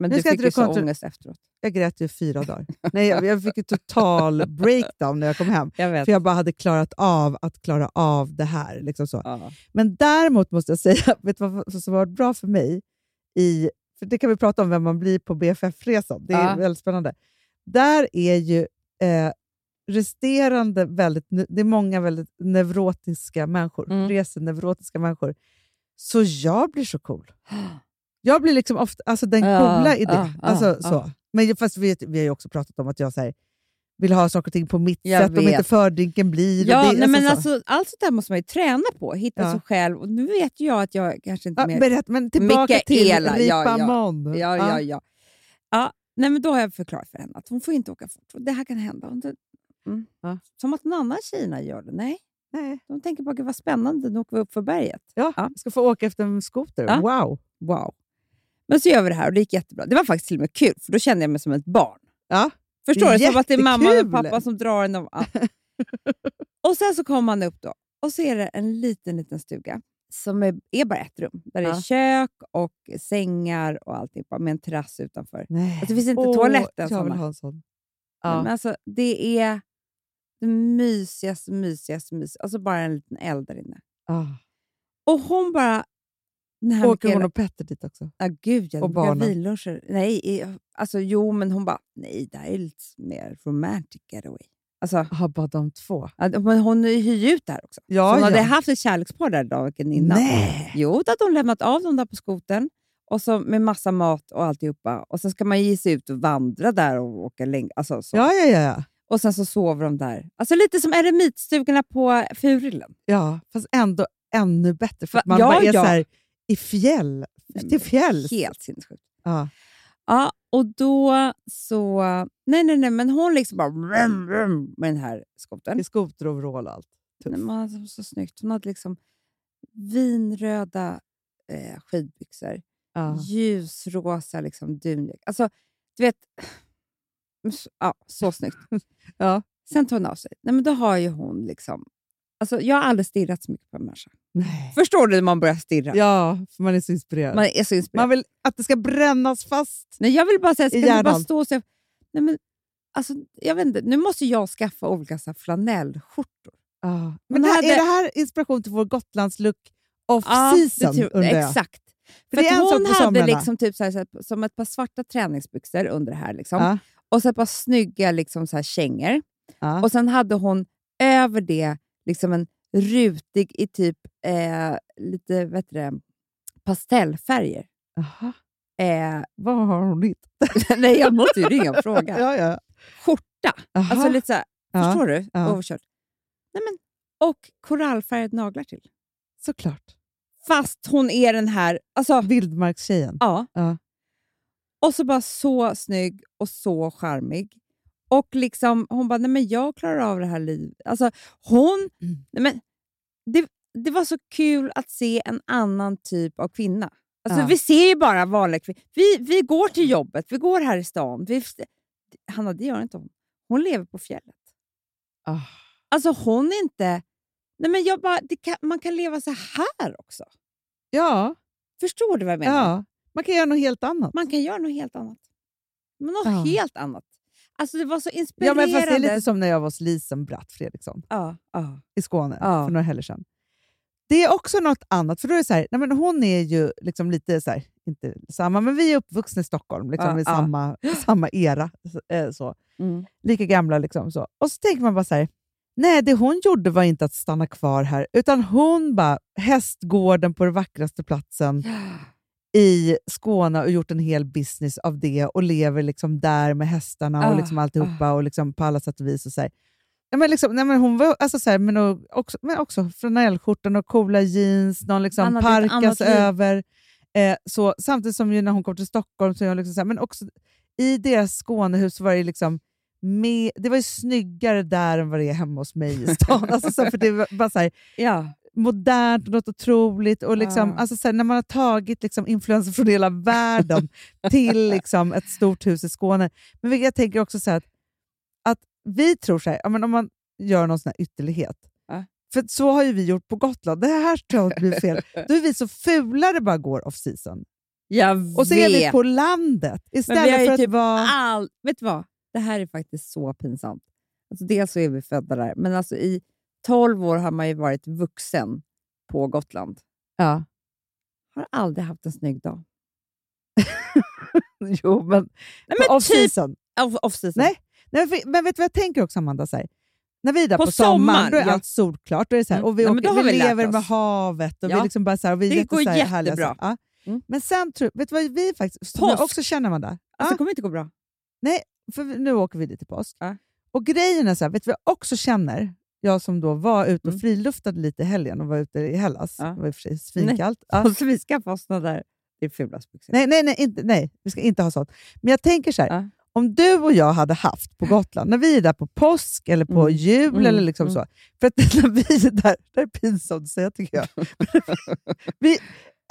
S4: Men
S3: Nu
S4: du
S3: ska
S4: fick
S3: inte du
S4: ju så
S3: kontro-
S4: ångest efteråt.
S3: Jag grät ju i fyra dagar. Nej, jag, jag fick ju total breakdown när jag kom hem.
S4: Jag vet.
S3: För jag bara hade klarat av att klara av det här. Liksom så.
S4: Ja.
S3: Men däremot måste jag säga, vet du vad som har varit bra för mig? I, för Det kan vi prata om, vem man blir på BFF-resan. Det är
S4: Ja.
S3: väldigt spännande. Där är ju eh, resterande väldigt, ne- det är många väldigt neurotiska människor,
S4: Mm.
S3: reseneurotiska människor. Så jag blir så cool. Jag blir liksom ofta, alltså den
S4: Ja,
S3: coola i det.
S4: ja, ja,
S3: alltså,
S4: ja.
S3: så. Men ju- fast vi, vi har ju också pratat om att jag säger vill ha saker och ting på mitt
S4: Jag
S3: sätt om
S4: vet.
S3: inte fördrinken blir. och
S4: Ja,
S3: det,
S4: nej, men
S3: så.
S4: alltså, allt sånt där måste man ju träna på, hitta
S3: Ja.
S4: sig själv. Och nu vet ju jag att jag kanske inte
S3: Ja,
S4: mer...
S3: berätt, men tillbaka till
S4: Mikaela, ja, ja.
S3: Ripamon.
S4: Ja, ja, ja. ja nej, men då har jag förklarat för henne att hon får inte åka fort. Och Det här kan hända. Hon- Mm.
S3: Ja.
S4: Som att någon annan i Kina gör det. Nej,
S3: Nej.
S4: de tänker bara, "Gud, vad spännande, nu åker vi upp för berget.
S3: Ja,
S4: Ja.
S3: Ska få åka efter en skoter.
S4: Ja.
S3: Wow.
S4: Wow. Men så gör vi det här och det gick jättebra. Det var faktiskt till och med kul, för då kände jag mig som ett barn.
S3: Ja.
S4: Förstår du? Som att det är mamma och
S3: Jättekul.
S4: pappa som drar en av allt. och sen så kommer man upp då och så är det en liten, liten stuga som är, är bara ett rum. Där det är
S3: Ja.
S4: kök och sängar och allting bara med en terrass utanför.
S3: Nej.
S4: Alltså, det finns inte toalett ens,
S3: Jag vill
S4: Anna.
S3: ha en sån.
S4: Nej, Men alltså, det är det mysigaste, mysigaste, mysigaste. Alltså bara en liten eld där inne.
S3: Ja.
S4: Och hon bara... Den här
S3: Ah. Åker
S4: Mikaela-
S3: hon och Petter dit också?
S4: Ja, gud ja.
S3: Och
S4: Och barnen.
S3: barnen.
S4: Villuncher. Nej, i- alltså jo, men hon bara, nej, det här är lite mer romantic getaway. Alltså,
S3: Ja, bara de två.
S4: att- men hon hyr ju ut det här också. Så
S3: Ja,
S4: hon hade
S3: ja.
S4: haft ett kärlekspar där dagen innan.
S3: Nej.
S4: Jo, då hade hon lämnat av dem där på skoten. Och så med massa mat och alltihopa. Och sen ska man ge sig ut och vandra där och åka längre. Alltså, så.
S3: Ja, ja, ja, ja.
S4: Och sen så sover de där. Alltså lite som eremitstugorna på Furilen.
S3: Ja, fast ändå ännu bättre. För att
S4: Va-
S3: man
S4: ja,
S3: bara är
S4: ja.
S3: så här i fjäll. Till fjälls.
S4: Helt sinnessjukt.
S3: Ja.
S4: Ja, och då så... Nej, nej, nej, men hon liksom bara... Vrum, vrum, med den här skotern.
S3: I skoteroverall och allt.
S4: Nej, men alltså, så snyggt. Hon hade liksom vinröda eh, skidbyxor,
S3: Ja.
S4: ljusrosa liksom, dunjacka. Alltså, du vet... men så- Ja, så snyggt.
S3: Ja.
S4: Sen tar hon av sig. Nej, men då har ju hon liksom... Alltså, jag har aldrig stirrat så mycket på en människa.
S3: Nej.
S4: Förstår du när man börjar stirra?
S3: ja, för man är så inspirerad.
S4: Man
S3: Man,
S4: är så inspirerad.
S3: vill att det ska brännas fast.
S4: Nej, jag vill bara säga,
S3: I
S4: ska du bara
S3: hjärnan.
S4: stå och säga... Nej, men, alltså, jag vet inte, nu måste jag skaffa olika så här, flanellskjortor.
S3: Ja.
S4: Man
S3: Men det här,
S4: hade-
S3: är det här inspiration till vår Gotlandslook
S4: Ja,
S3: off-season?
S4: det tror-
S3: undrar jag.
S4: Exakt. För,
S3: För det är
S4: att
S3: en sak
S4: hon
S3: på
S4: hade
S3: somrarna.
S4: liksom typ så här, så här, som ett par svarta träningsbyxor under det här. Liksom.
S3: Ja.
S4: Och så ett par snygga liksom, så här, kängor.
S3: Ja.
S4: Och sen hade hon över det liksom en rutig i typ eh, lite vad heter det, pastellfärger.
S3: Aha.
S4: Eh,
S3: Vad har hon hittat?
S4: nej, jag måste ju ringa och fråga.
S3: Ja, ja.
S4: Skjorta.
S3: Aha.
S4: Alltså lite så här,
S3: ja.
S4: Förstår du?
S3: ja.
S4: Overkört. Nej, men, och korallfärgade naglar till.
S3: Såklart.
S4: Fast hon är den här... Alltså,
S3: Vildmarkstjejen.
S4: ja.
S3: Ja.
S4: Och så bara så snygg och så charmig. Och liksom, hon bara, nej men jag klarar av det här livet. Alltså, hon...
S3: Mm.
S4: Nej, men, det, det var så kul att se en annan typ av kvinna. Alltså,
S3: Ja.
S4: Vi ser ju bara vanliga kvinnor. Vi, vi går till jobbet, vi går här i stan. Vi, Hanna, det gör inte hon. Hon lever på fjället.
S3: Ah.
S4: Alltså hon är inte... Nej, men jag bara, det kan, man kan leva så här också.
S3: Ja,
S4: Förstår du vad jag menar?
S3: ja. Man kan göra något helt annat.
S4: Man kan göra något helt annat. Men något
S3: Ja.
S4: helt annat. Alltså det var så
S3: Ja,
S4: inspirerande.
S3: men fast det är lite som när jag var hos Lisen Bratt Fredriksson
S4: ja, ja,
S3: i Skåne
S4: Ja.
S3: för några helger sedan. Det är också något annat, för då är det så här, nej men hon är ju liksom lite så här, inte samma, men vi är uppvuxna i Stockholm, liksom,
S4: Ja,
S3: i
S4: ja.
S3: samma, samma era. så- eh, Så.
S4: mm.
S3: Lika gamla liksom. Så. Och så tänker man bara så här, nej det hon gjorde var inte att stanna kvar här, utan hon bara, hästgården på den vackraste platsen i Skåne och gjort en hel business av det och lever liksom där med hästarna
S4: Ah,
S3: och liksom alltihopa och liksom på alla sätt och vis. Och så här. Ja, men liksom, nej, men hon var alltså så här, men och, också, men också flanellskjortan och coola jeans, någon
S4: Han
S3: liksom
S4: hade ett annat
S3: parkas
S4: liv.
S3: över. Eh, så, samtidigt som ju när hon kom till Stockholm, så är jag liksom så här, men också i deras Skånehus så var det liksom med, det var ju snyggare där än vad det är hemma hos mig i stan. alltså, så här, för det var bara så här,
S4: ja.
S3: modernt och något otroligt. Och liksom,
S4: Ja.
S3: alltså, så här, när man har tagit liksom, influenser från hela världen till liksom, ett stort hus i Skåne. Men vilket jag tänker också så här, att, att vi tror så här, ja, men om man gör någon sån här ytterlighet,
S4: Ja.
S3: för att så har ju vi gjort på Gotland, det här tror jag blir fel, då är vi så fula det bara går off season.
S4: Jag
S3: Och så
S4: vet.
S3: är vi på landet
S4: Men vi har
S3: istället
S4: ju
S3: för att
S4: typ
S3: vara...
S4: All... Vet du vad? Det här är faktiskt så pinsamt. Alltså, dels så är vi födda där, men alltså, i 12 år har man ju varit vuxen på Gotland.
S3: Ja.
S4: Har aldrig haft en snygg dag.
S3: Jo, men,
S4: Nej,
S3: men
S4: men
S3: off
S4: typ
S3: season.
S4: off, off-season.
S3: Nej. Nej, men, för- men vet du vad jag tänker också, Amanda? Så här, när vi är där
S4: På
S3: på, sommaren,
S4: sommaren,
S3: då är
S4: ja.
S3: allt solklart. Då är det så här,
S4: Mm.
S3: och vi,
S4: Nej, men
S3: åker,
S4: då har
S3: vi,
S4: vi lärt
S3: lever
S4: oss.
S3: med havet och
S4: Ja.
S3: vi liksom bara så här, och vi är
S4: Det går
S3: jätte, så här, härliga,
S4: jättebra.
S3: Så här, ja.
S4: Mm.
S3: Men sen, tror, vet du vad vi faktiskt som jag
S4: Påsk.
S3: också känner, Amanda?
S4: Alltså,
S3: Ja,
S4: det kommer inte gå bra.
S3: för nu åker vi dit i påsk.
S4: Ja.
S3: Och grejen är så här, vet du vad jag också känner? Jag som då var ute och
S4: Mm.
S3: friluftade lite i helgen och var ute i Hellas.
S4: Ja.
S3: Det var i och för sig svinkallt. Ja.
S4: Måste vi skaffa oss några där? Det är fulaspbyxor.
S3: Nej, nej, nej, inte, nej, vi ska inte ha sånt. Men jag tänker så här,
S4: Ja.
S3: om du och jag hade haft på Gotland, när vi är där på påsk eller på
S4: Mm.
S3: jul
S4: Mm,
S3: eller liksom
S4: mm.
S3: så. För att när vi är där, det här är pinsamt att säga tycker jag. vi,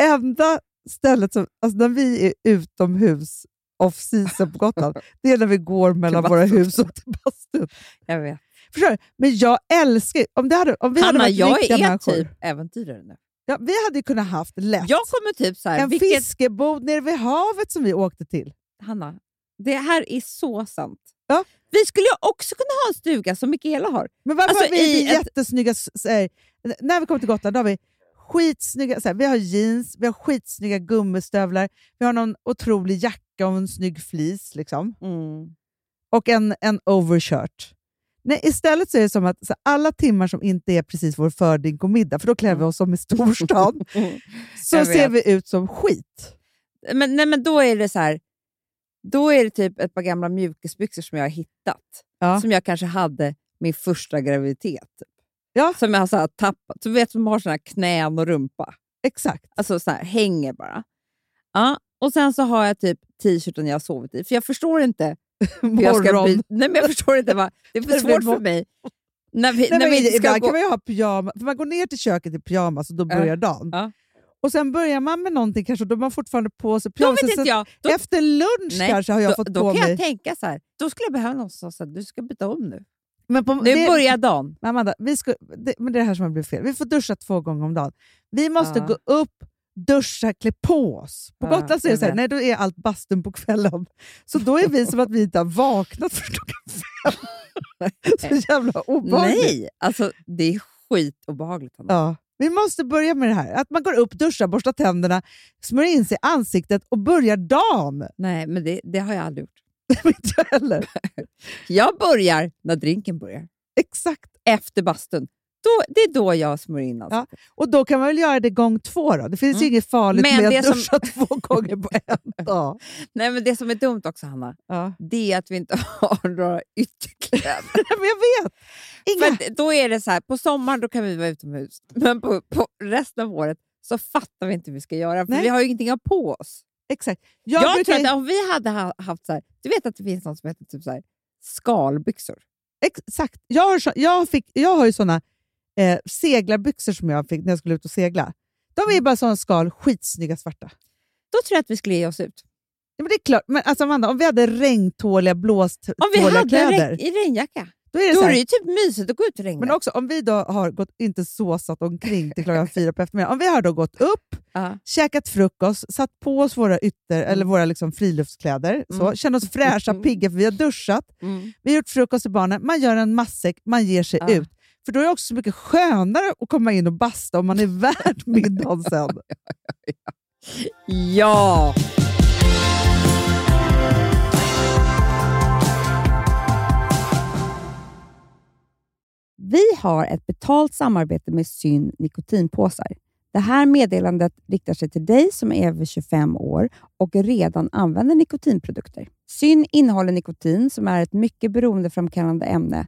S3: enda stället som, alltså när vi är utomhus off season på Gotland, det är när vi går mellan
S4: Till
S3: våra hus och till bastun.
S4: Jag vet.
S3: Förstår du? Men jag älskar ju- om, det hade, om vi hade
S4: Hanna,
S3: varit
S4: jag
S3: riktiga
S4: är
S3: människor.
S4: typ äventyrare nu.
S3: Ja, vi hade ju kunnat haft lätt
S4: Jag kommer typ så här,
S3: en
S4: vilket,
S3: fiskebod nere vid havet som vi åkte till.
S4: Hanna, det här är så sant.
S3: Ja.
S4: Vi skulle ju också kunna ha en stuga som Mikaela har.
S3: Men varför
S4: Alltså,
S3: har vi inte
S4: i ett-
S3: jättesnygga... s- Så här, n- när vi kommer till Gotland då har vi skitsnygga... Så här, vi har jeans, vi har skitsnygga gummistövlar, vi har någon otrolig jacka och en snygg fleece. Liksom.
S4: Mm.
S3: Och en, en overshirt. Nej, istället så är det som att så här, alla timmar som inte är precis vår fördrink och middag, för då klär vi oss som i storstan, så
S4: Jag
S3: ser vi ut som skit.
S4: Men, nej, men då är det så här, då är det typ ett par gamla mjukisbyxor som jag har hittat.
S3: Ja.
S4: Som jag kanske hade min första graviditet. typ.
S3: Ja.
S4: Som jag har så här tappat. Så vet, som har såna här knän och rumpa.
S3: Exakt.
S4: Alltså så här, hänger bara. Ja. Och sen så har jag typ t-shirten jag har sovit i. För jag förstår inte hur jag ska
S3: Morgon.
S4: byta. Nej, men jag förstår inte. Vad, det är för
S3: Det blir
S4: svårt för
S3: mor-
S4: mig. När vi,
S3: Nej,
S4: när
S3: men
S4: vi inte ska
S3: ibland
S4: gå...
S3: kan man ju ha pyjama, för man går ner till köket i pyjamas och då
S4: Ja.
S3: börjar dagen.
S4: Ja.
S3: Och sen börjar man med någonting kanske och då har man fortfarande på sig
S4: Då
S3: pyjamas.
S4: vet
S3: Så
S4: inte jag. Då,
S3: Efter lunch
S4: Nej,
S3: kanske har jag
S4: då,
S3: fått
S4: då
S3: på
S4: kan
S3: mig...
S4: jag tänka så här. Då skulle jag behöva någon som sa att du ska byta om nu.
S3: Men på,
S4: Nu
S3: det,
S4: börjar dagen.
S3: Men Amanda, vi ska, det, men det är det här som har blivit fel. Vi får duscha två gånger om dagen. Vi måste
S4: Ja.
S3: gå upp, duscha, klä på oss. På
S4: Ja,
S3: Gotland så är det
S4: jag
S3: så här,
S4: vet.
S3: nej då är allt bastun på kvällen. Så då är vi som att vi inte har vaknat för klockan fem. så jävla obehagligt.
S4: Nej, alltså det är skitobehagligt. Hanna.
S3: Ja. Vi måste börja med det här. Att man går upp, duschar, borstar tänderna, smörjer in sig i ansiktet och börjar dagen.
S4: Nej, men det, det har jag aldrig gjort.
S3: Det vet jag heller.
S4: Jag börjar när drinken börjar.
S3: Exakt.
S4: Efter bastun. Då, det är då jag smörjer in
S3: Ja,
S4: alltså.
S3: Och då kan man väl göra det gång två då? Det finns ju
S4: Mm.
S3: inget farligt
S4: Men
S3: med
S4: det
S3: att
S4: som-
S3: duscha två gånger på en dag.
S4: Nej, men Det som är dumt också, Hanna,
S3: Ja.
S4: det är att vi inte har några ytterkläder.
S3: Men jag vet!
S4: För
S3: Inga.
S4: att då är det så här, på sommaren då kan vi vara utomhus, men på, på resten av året så fattar vi inte hur vi ska göra, för
S3: Nej.
S4: vi har ju ingenting att ha på oss.
S3: Exakt.
S4: Jag,
S3: Jag, brukar,
S4: tror att om vi hade ha- haft så här, du vet att det finns något som heter typ så här, skalbyxor.
S3: exakt. Jag, har så, jag, fick, jag har ju såna eh, seglarbyxor som jag fick när jag skulle ut och segla. De
S4: Mm.
S3: är bara sån skal, skitsnygga svarta.
S4: Då tror jag att vi skulle ge oss ut.
S3: Ja, men det är klart. Men alltså Amanda, om vi hade regntåliga,
S4: Om vi
S3: blåståliga
S4: hade en
S3: kläder.
S4: regn, i regnjacka,
S3: Då är det
S4: då
S3: så
S4: är
S3: här,
S4: det ju typ mysigt att gå ut i regnet.
S3: Men också om vi då har gått, inte såsat omkring till klockan fyra på eftermiddagen. Om vi har då gått upp,
S4: Ja.
S3: käkat frukost, satt på oss våra ytter eller våra liksom friluftskläder, så,
S4: Mm.
S3: känner oss fräscha,
S4: Mm.
S3: pigga för vi har duschat,
S4: Mm.
S3: vi har gjort frukost till barnen, man gör en matsäck, man ger sig
S4: Ja.
S3: ut. För då är det också så mycket skönare att komma in och basta om man är värd middagen sen.
S4: ja! Vi har ett betalt samarbete med Syn nikotinpåsar. Det här meddelandet riktar sig till dig som är över 25 år och redan använder nikotinprodukter. Syn innehåller nikotin som är ett mycket beroendeframkallande ämne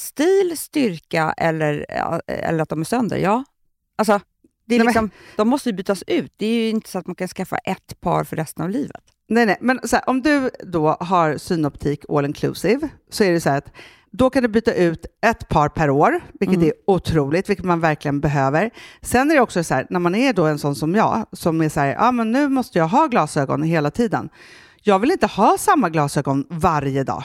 S4: stil, styrka eller, eller att de är sönder? Ja. Alltså, det är
S3: Nej, men-
S4: liksom, de måste ju bytas ut. Det är ju inte så att man kan skaffa ett par för resten av livet.
S3: Nej, nej. Men så här, om du då har synoptik all inclusive så är det så här att Då kan du byta ut ett par per år, vilket
S2: Mm.
S3: är otroligt, vilket man verkligen behöver. Sen är det också så här, när man är då en sån som jag, som är så här, ah, men nu måste jag ha glasögon hela tiden. Jag vill inte ha samma glasögon varje dag.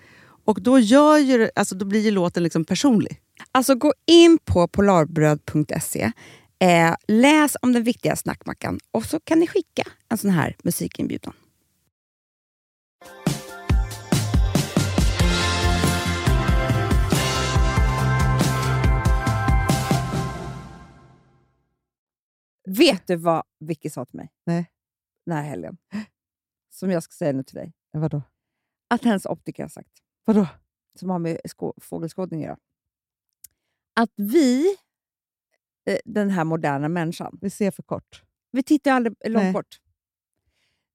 S3: Och då, gör ju, det- alltså, då blir ju låten liksom personlig.
S4: Alltså gå in på polarbröd.se, eh, läs om den viktiga snackmackan och så kan ni skicka en sån här musikinbjudan. Vet du vad Vicky sa till mig?
S3: Nej.
S4: Den här helgen. Som jag ska säga nu till dig.
S3: Vadå?
S4: Att hennes optiker har sagt
S3: Vadå?
S4: som har med skå- fågelskådning att göra. Att vi, eh, den här moderna människan,
S3: Vi ser för kort.
S4: vi tittar ju aldrig
S3: Nej.
S4: långt bort.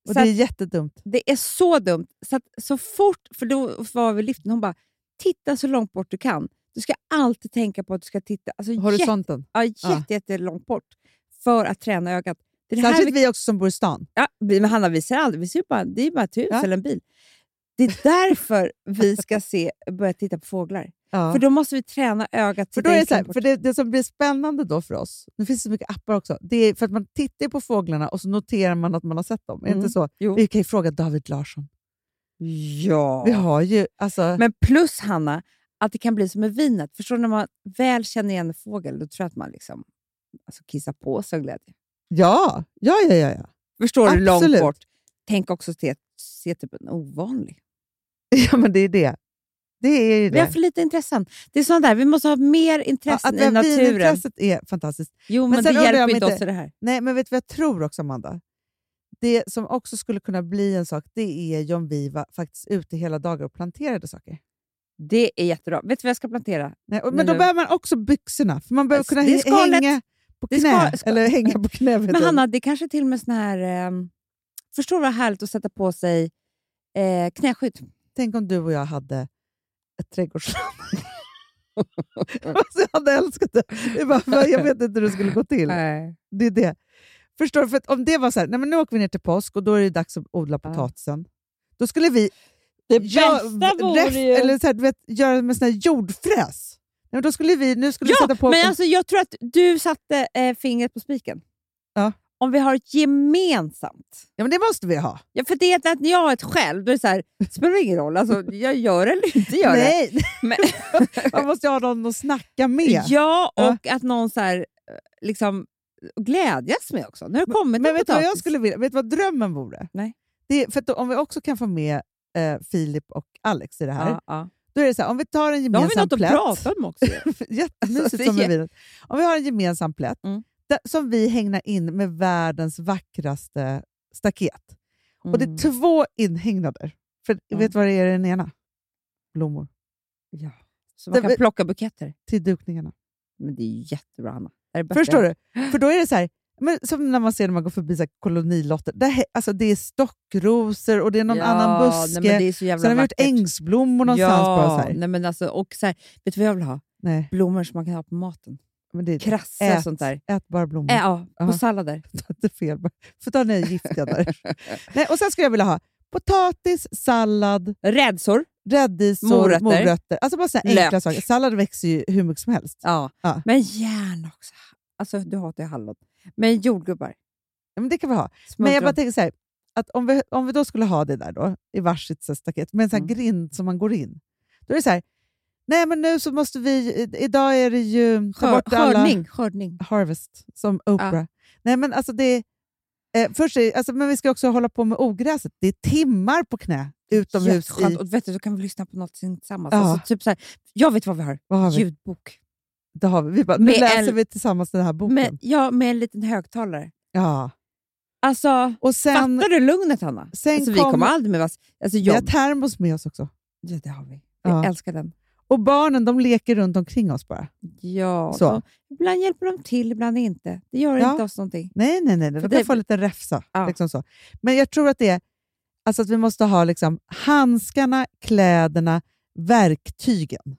S3: Och
S4: Så
S3: det är
S4: att,
S3: jättedumt.
S4: det är så dumt. Så, att, så fort, för då var vi i liften, hon bara titta så långt bort du kan. Du ska alltid tänka på att du ska titta alltså, jätte, ja, jätte, jätte långt bort för att träna ögat. Det är det här vi,
S3: vi också som bor i stan.
S4: ja, vi, men Hanna, vi ser aldrig, vi ser ju bara, det är ju bara ett hus
S3: Ja.
S4: eller en bil. Det är därför vi ska se, börja titta på fåglar.
S3: Ja.
S4: För då måste vi träna ögat
S3: För
S4: till
S3: då är det, så här,
S4: bort.
S3: för det, det som blir spännande då för oss, nu finns det så mycket appar också, det är för att man tittar på fåglarna och så noterar man att man har sett dem. Är det
S4: Mm.
S3: inte så?
S4: Jo.
S3: Vi kan ju fråga David Larsson.
S4: Ja.
S3: Vi har ju, alltså,
S4: Men plus, Hanna, att det kan bli som med vinet. Förstår du, när man väl känner igen en fågel, då tror jag att man liksom, alltså, kissar på sig av glädje.
S3: ja, ja, ja, ja, ja.
S4: Förstår du? Långt
S3: Absolut.
S4: bort. Tänk också se, se typ en ovanlig.
S3: Ja, men det är det. Det är ju
S4: Vi har
S3: det.
S4: för lite intressen. Det är sånt där, vi måste ha mer
S3: Ja,
S4: intressen
S3: att
S4: i naturen.
S3: vinintresset är fantastiskt.
S4: Jo,
S3: Men
S4: men,
S3: sen
S4: det
S3: undrar jag
S4: hjälper
S3: om
S4: inte
S3: inte-
S4: oss i det här.
S3: Nej, men vet du vad jag tror också, Amanda? Det som också skulle kunna bli en sak, det är ju om vi var faktiskt ute hela dagar och planterade saker.
S4: Det är jättebra. Vet du vad jag ska plantera?
S3: Nej, och, men,
S4: Men
S3: då
S4: nu-
S3: behöver man också byxorna, för man behöver
S4: Mm. Alltså,
S3: kunna
S4: det
S3: hä-
S4: är skalet.
S3: hänga på
S4: Det är
S3: knä.
S4: ska- ska-
S3: Eller hänga på knä. vet
S4: Men
S3: du.
S4: Hanna, det kanske är till och med sån här... ehm, förstår du vad härligt att sätta på sig eh, knäskydd?
S3: Tänk om du och jag hade ett trädgårdsland. alltså, jag hade älskat det. det är bara, jag vet inte hur det skulle gå till.
S4: Nej.
S3: Det är det. Förstår du? För att om det var så här, nej men nu åker vi ner till påsk och då är det dags att odla
S4: Ja.
S3: potatisen. Då skulle vi
S5: Det
S3: gör-
S5: bästa vore
S3: ref-
S5: ju...
S3: eller så här, du vet, göra med sån här jordfräs. Nej, men då skulle vi, nu skulle vi
S4: Ja,
S3: sätta på...
S4: men alltså, jag tror att du satte eh, fingret på spiken.
S3: Ja.
S4: Om vi har ett gemensamt.
S3: ja, men det måste vi ha.
S4: Ja, för det är att när jag har ett själv, då är det så här, det spelar ingen roll. Alltså, jag gör eller inte gör det.
S3: Nej,
S4: Men,
S3: man måste ju ha någon att snacka med.
S4: ja,
S3: Ja.
S4: och att någon så här, eh, liksom, glädjas med också. Nu har det kommit
S3: Men
S4: en
S3: vet du vad jag
S4: potatis.
S3: skulle vilja? Vet du vad drömmen vore?
S4: Nej.
S3: Det är, för att då, om vi också kan få med eh, Filip och Alex i det här,
S4: Ja, ja.
S3: då är det så här, om vi tar en
S4: Då har vi
S3: gemensam
S4: något
S3: plätt.
S4: att prata om också. ju. Alltså,
S3: Jättemysigt
S4: det
S3: som
S4: är
S3: med vinet. Om vi har en gemensam plätt
S4: Mm.
S3: där, som vi hängnar in med världens vackraste staket. Och det
S4: Mm.
S3: är två inhägnader. För vet du vad det är i den ena? Blommor.
S4: Så man
S3: Det-
S4: kan plocka buketter.
S3: Till dukningarna.
S4: Men det är ju jättebra, Hanna. Det är det bästa
S3: Förstår
S4: jag-
S3: du? För då är det så här, men som när man ser när man går förbi så här kolonilotter. Där, hä- alltså det är stockrosor och det är någon
S4: Ja,
S3: annan buske.
S4: Nej, men det är så jävla
S3: Sen har vi gjort
S4: vackert.
S3: ängsblommor någonstans.
S4: ja,
S3: bara så här.
S4: Nej, men alltså, och så här, vet du vad jag vill ha?
S3: Nej,
S4: Blommor som man kan ha på maten.
S3: men det är
S4: Krasse
S3: ät,
S4: och sånt där.
S3: Ät bara blommor.
S4: Äh, ja, på
S3: Ja.
S4: sallader.
S3: Ta inte fel. bara. För då är ni giftiga där. Nej, och sen skulle jag vilja ha potatis, sallad,
S4: Rädsor.
S3: rädisor,
S4: Morötter.
S3: morötter. Alltså bara sådana
S4: Lök.
S3: enkla saker. Sallad växer ju hur mycket som helst.
S4: Ja.
S3: Ja.
S4: Men gärna också. Alltså, du hatar ju hallon. Men jordgubbar.
S3: Ja, Men det kan vi ha. Men jag
S4: Smultron.
S3: bara tänker så här, att om vi, om vi då skulle ha det där då, i varsitt så här staket, med en sån här
S4: Mm.
S3: grind som man går in. Då är det så här, nej men nu så måste vi, i- idag är det ju... ta
S4: Skör,
S3: bort alla-
S4: skördning. skördning.
S3: Harvest, som Oprah. Nej, men alltså det, eh, först är, alltså, men vi ska också hålla på med ogräset. Det är timmar på knä utomhus.
S4: Jätteskönt.
S3: I,
S4: Och vet du, så kan vi lyssna på något tillsammans.
S3: Ja.
S4: Alltså, typ så här, jag vet vad vi har.
S3: vad har vi?
S4: Ljudbok.
S3: Det har vi. vi bara, nu
S4: Med
S3: läser
S4: en-
S3: vi tillsammans den här boken.
S4: Med, ja, med en liten högtalare.
S3: ja.
S4: Alltså,
S3: Och sen,
S4: fattar du lugnet, Hanna?
S3: sen
S4: Alltså, vi
S3: kom,
S4: kommer aldrig med vass... Alltså,
S3: vi har
S4: jag,
S3: termos med oss också.
S4: ja, det har vi. Jag
S3: Ja.
S4: älskar den.
S3: Och barnen de leker runt omkring oss bara.
S4: Ja,
S3: Så.
S4: de, ibland hjälper de till, ibland inte. Det gör
S3: Ja.
S4: inte oss någonting.
S3: Nej, nej, nej. nej.
S4: För
S3: De kan
S4: det-
S3: få en liten räfsa.
S4: Ja.
S3: Liksom så. Men jag tror att det är alltså att vi måste ha liksom, handskarna, kläderna, verktygen.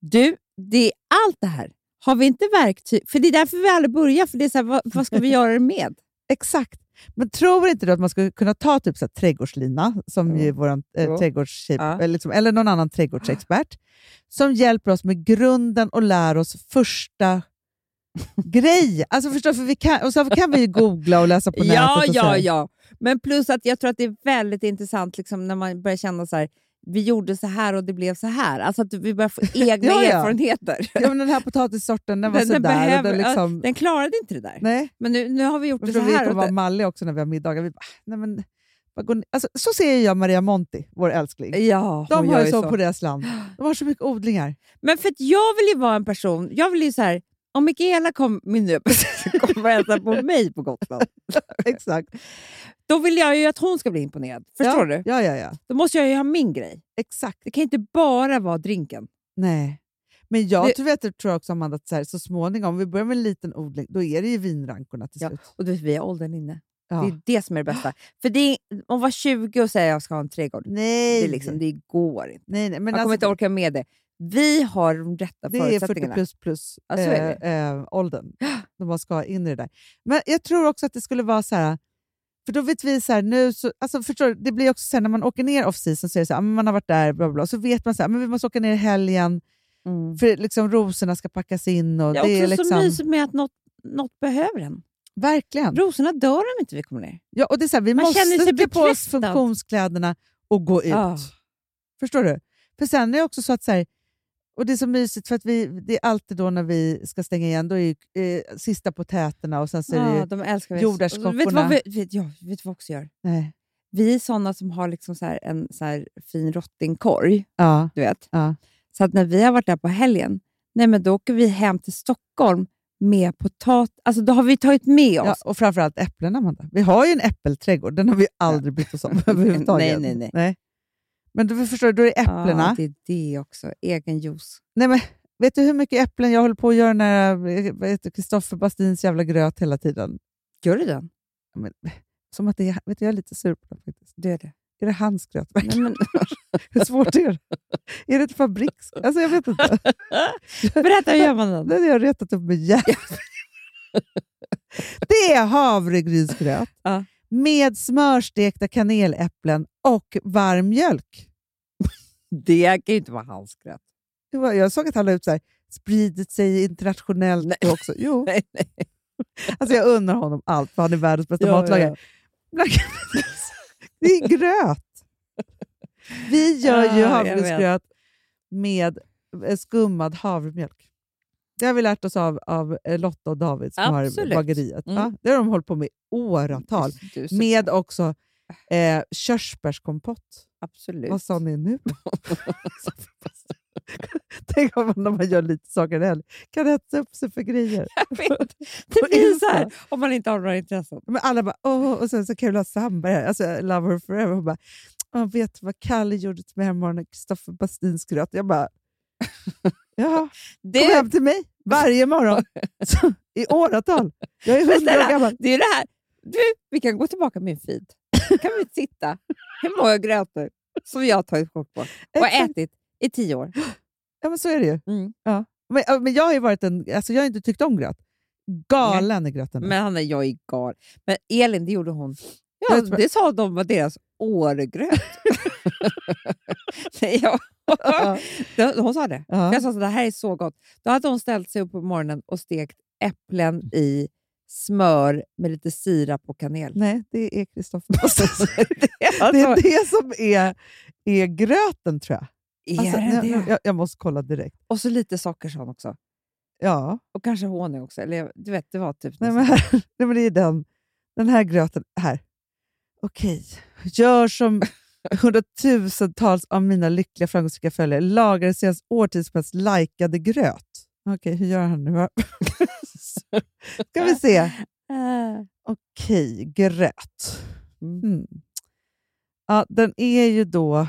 S4: Du, det är allt det här har vi inte verktyg För det är därför vi aldrig börjar. För det är så här, vad, vad ska vi göra det med?
S3: Exakt. Men tror inte du att man skulle kunna ta typ så här, trädgårdslina, som
S4: Jo.
S3: ju är vår
S4: Jo.
S3: eh, trädgårdstjej,
S4: Ja.
S3: eller, liksom, eller någon annan trädgårdsexpert, som hjälper oss med grunden och lär oss första grej. Alltså förstår, du? för vi kan, och så kan vi ju googla och läsa på
S4: Ja,
S3: nätet. Och så
S4: ja,
S3: här.
S4: ja. Men plus att jag tror att det är väldigt intressant liksom, när man börjar känna så här, vi gjorde så här och det blev så här. Alltså att vi börjar få egna
S3: Ja, ja.
S4: erfarenheter.
S3: Ja, men den här potatissorten den var
S4: Den-
S3: sådär.
S4: den
S3: och
S4: behöver-
S3: den
S4: ja,
S3: liksom,
S4: Den klarade inte det där.
S3: nej.
S4: Men nu, nu har vi gjort
S3: Men
S4: det
S3: för
S4: så
S3: vi
S4: här.
S3: kommer
S4: Och
S3: vara
S4: det,
S3: malliga också när vi har middagar. Vi bara, "Ah, nej men, vad går ni? Alltså, så ser jag Maria Monti, vår älskling.
S4: ja, hon
S3: De har
S4: gör
S3: ju så,
S4: så.
S3: på deras land. De har så mycket odlingar.
S4: Men för att jag vill ju vara en person, jag vill ju så här, om Mikaela kom, min nya bästis, kommer och hälsar på mig på Gotland,
S3: Exakt.
S4: då vill jag ju att hon ska bli imponerad. Förstår
S3: ja.
S4: du?
S3: Ja, ja, ja.
S4: Då måste jag ju ha min grej.
S3: Exakt.
S4: Det kan ju inte bara vara drinken.
S3: Nej. Men jag
S4: Det-
S3: tror, vet, du, tror också Amanda, att så, här, så småningom, om vi börjar med en liten odling, då är det ju vinrankorna till
S4: Ja.
S3: slut.
S4: Och du vet, vi har åldern inne.
S3: Ja.
S4: Det är det som är det bästa. För det är, om var 20 och säga att jag ska ha en trädgård,
S3: Nej.
S4: det, är liksom, det går inte.
S3: nej, nej. Men
S4: Jag kommer
S3: alltså,
S4: inte orka med det. Vi har de rätta
S3: Det är 40
S4: förutsättningarna.
S3: plus plus
S4: Ja, så är
S3: eh, eh, åldern när man ska ha in i det där. Men jag tror också att det skulle vara så här, för då vet vi så här nu, så, alltså förstår du, det blir också så här, när man åker ner off season så är det så här, ah, men man har varit där, bla bla, bla, så vet man så här, men vi måste åka ner i helgen
S4: Mm.
S3: för liksom rosorna ska packas in och
S4: Det är också
S3: det är
S4: så
S3: liksom,
S4: mysigt med att något, något behöver en.
S3: verkligen.
S4: Rosorna dör om inte vi kommer ner.
S3: Ja, och det är så här, vi
S4: Man känner
S3: måste
S4: sig
S3: klä på oss
S4: bekräftad.
S3: funktionskläderna och gå ut.
S4: Ja.
S3: Förstår du? För sen är det också så att så här, och det är så mysigt för att vi, det är alltid då när vi ska stänga igen, då är ju, eh, sista på täterna och sen så är det
S4: Ja,
S3: ju,
S4: Ah, de älskar vi.
S3: jordärtskockorna.
S4: Vet du vad vi, vet, ja, vet du vad vi också gör?
S3: nej.
S4: Vi är såna som har liksom så här en så här fin rottingkorg,
S3: Ja,
S4: du vet.
S3: ja.
S4: Så att när vi har varit där på helgen, nej men då åker vi hem till Stockholm med potatis. Alltså då har vi tagit med
S3: Ja,
S4: oss.
S3: och framförallt äpplen, Amanda. Vi har ju en äppelträdgård, den har vi aldrig brytt oss om överhuvudtaget.
S4: Nej, nej, nej.
S3: Men du förstår, då är det äpplena.
S4: Ja, Ah, det är det också. Egen juice.
S3: nej, men, vet du hur mycket äpplen jag håller på att göra när eh, Kristoffer Bastins jävla gröt hela tiden?
S4: Gör du den?
S3: Men, som att det är, vet du, jag är lite sur på det faktiskt.
S4: Du är det.
S3: Är det hans gröt?
S4: Nej, men,
S3: Hur svårt är det? Är det ett fabriks... Alltså jag vet inte.
S4: berätta, hur gör man den?
S3: Den har jag retat upp mig jävligt. Det är havregrynsgröt
S4: Ja.
S3: med smörstekta kaneläpplen och varm mjölk.
S4: Det kan ju inte vara hans gröt.
S3: Det var- Jag såg att han la ut så här, spridit sig internationellt också. Jo,
S4: Nej, nej.
S3: alltså jag undrar honom allt, för han är världens bästa matlagare. Ibland kan man- Det är gröt. Vi gör ju
S4: Ja, Ah, jag
S3: havregrynsgröt med eh, skummad havremjölk. Det har vi lärt oss av, av eh, Lotta och David som
S4: Absolut.
S3: har bageriet.
S4: Mm.
S3: Ja, det har de hållit på med i åratal.
S4: Du är så-
S3: Med också eh, körsbärskompott.
S4: Absolut.
S3: Vad sa ni nu? Tänk om man, när man gör lite saker heller kan hetsa upp sig för grejer.
S4: Jag vet. Det blir så här om man inte har några intressen.
S3: Men alla bara åh, och sen så Carola Sandberg, här, alltså I love her forever, hon bara åh, vet du vad Kalle gjorde till mig härommorgonen? Kristoffer Bastins gröt. Jag bara jaha, kom
S4: Det,
S3: hem till mig varje morgon Så, i åratal. Jag är
S4: Men
S3: hundra år
S4: snälla,
S3: gammal.
S4: det är det här. Du, vi kan gå tillbaka min feed. kan vi titta hur många grötor som jag har tagit kort på och
S3: Exakt.
S4: ätit i tio år.
S3: Ja, men så är det ju.
S4: Mm.
S3: Ja. Men, ja, men jag har ju varit en, alltså jag har inte tyckt om gröt. Galen i gröten.
S4: Men Hanna, jag är gal. Men Elin, det gjorde hon. Ja,
S3: Jag tror-
S4: det sa de var deras årgröt. Nej, jag-
S3: Ja.
S4: hon sa det.
S3: Ja.
S4: Jag sa att det här är så gott. Då hade hon ställt sig upp på morgonen och stekt
S3: Mm.
S4: äpplen i smör med lite sirap och kanel.
S3: Nej, det är Kristoffer Alltså, Bastins. det
S4: Alltså,
S3: är det som är, är gröten tror jag. Alltså,
S4: är
S3: nu-
S4: det
S3: nu-
S4: det?
S3: jag. Jag måste kolla direkt.
S4: Och så lite socker sa hon också.
S3: Ja.
S4: Och kanske honung också. Eller, jag- du vet, det var typ...
S3: Nej,
S4: något
S3: men,
S4: sånt.
S3: här, nej, men det är den, den här gröten. Här. Okej. Gör som hundratusentals av mina lyckliga framgångsrika följare. Lagar senast årtids mest likade gröt. Okej, hur gör han nu? Ska vi se. Okej, gröt.
S4: Mm.
S3: Mm. Ja, den är ju då...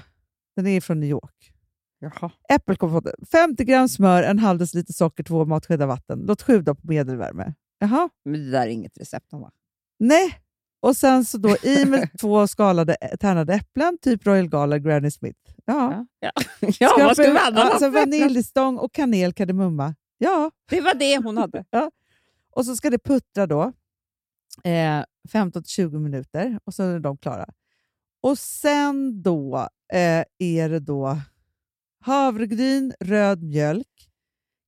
S3: Den är från New York.
S4: Jaha.
S3: Äppelkompotten. 50 gram smör, en halv deciliter socker, två matskedar vatten. Låt sjuda på medelvärme. Jaha.
S4: Men det där är inget recept, Hanna.
S3: Nej. Och sen så då i med två skalade ä- tärnade äpplen, typ Royal Gala, Granny Smith. Ja.
S4: Ja, ja vad ska vi annars
S3: Alltså
S4: ha för äpplen?
S3: vaniljstång och kanel, kardemumma. Ja.
S4: Det var det hon hade.
S3: Och så ska det puttra då eh, 15-20 minuter och sen är de klara. Och sen då eh, är det då havregryn, röd mjölk,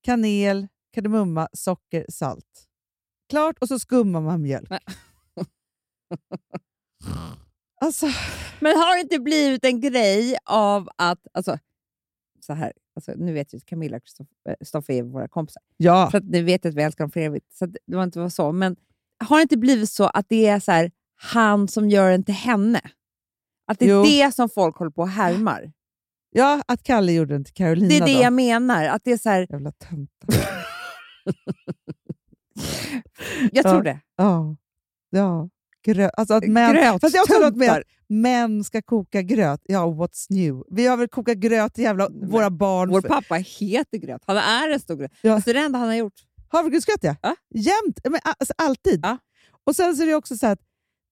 S3: kanel, kardemumma, socker, salt. Klart och så skummar man mjölk.
S4: Nej.
S3: alltså,
S4: Men har det inte blivit en grej av att... Alltså, så här, alltså, nu vet ju att Camilla och Kristoff- eh, Stoffe är våra kompisar,
S3: ja.
S4: så att ni vet att vi älskar dem för evigt. Så att det var inte var så. Men har det inte blivit så att det är så här, han som gör den till henne? Att det är
S3: Jo.
S4: det som folk håller på och härmar?
S3: ja, att Kalle gjorde den till Carolina
S4: Det är det
S3: då.
S4: jag menar. Att det är så här,
S3: Jävla töntar.
S4: jag
S3: Ja.
S4: tror det.
S3: Ja. ja. Grö- alltså att män...
S4: Gröt,
S3: Fast jag har också något med
S4: töntar.
S3: att män ska koka gröt. Ja, what's new? Vi har väl kokat gröt till jävla
S4: Men
S3: våra barn.
S4: Vår
S3: för-
S4: pappa heter Gröt. Han är en stor gröt.
S3: Ja.
S4: Så det är det enda han har gjort.
S3: Havregrynsgröt ja.
S4: Ja.
S3: Jämt. Men, alltså, alltid.
S4: Ja.
S3: Och sen så är det också så här att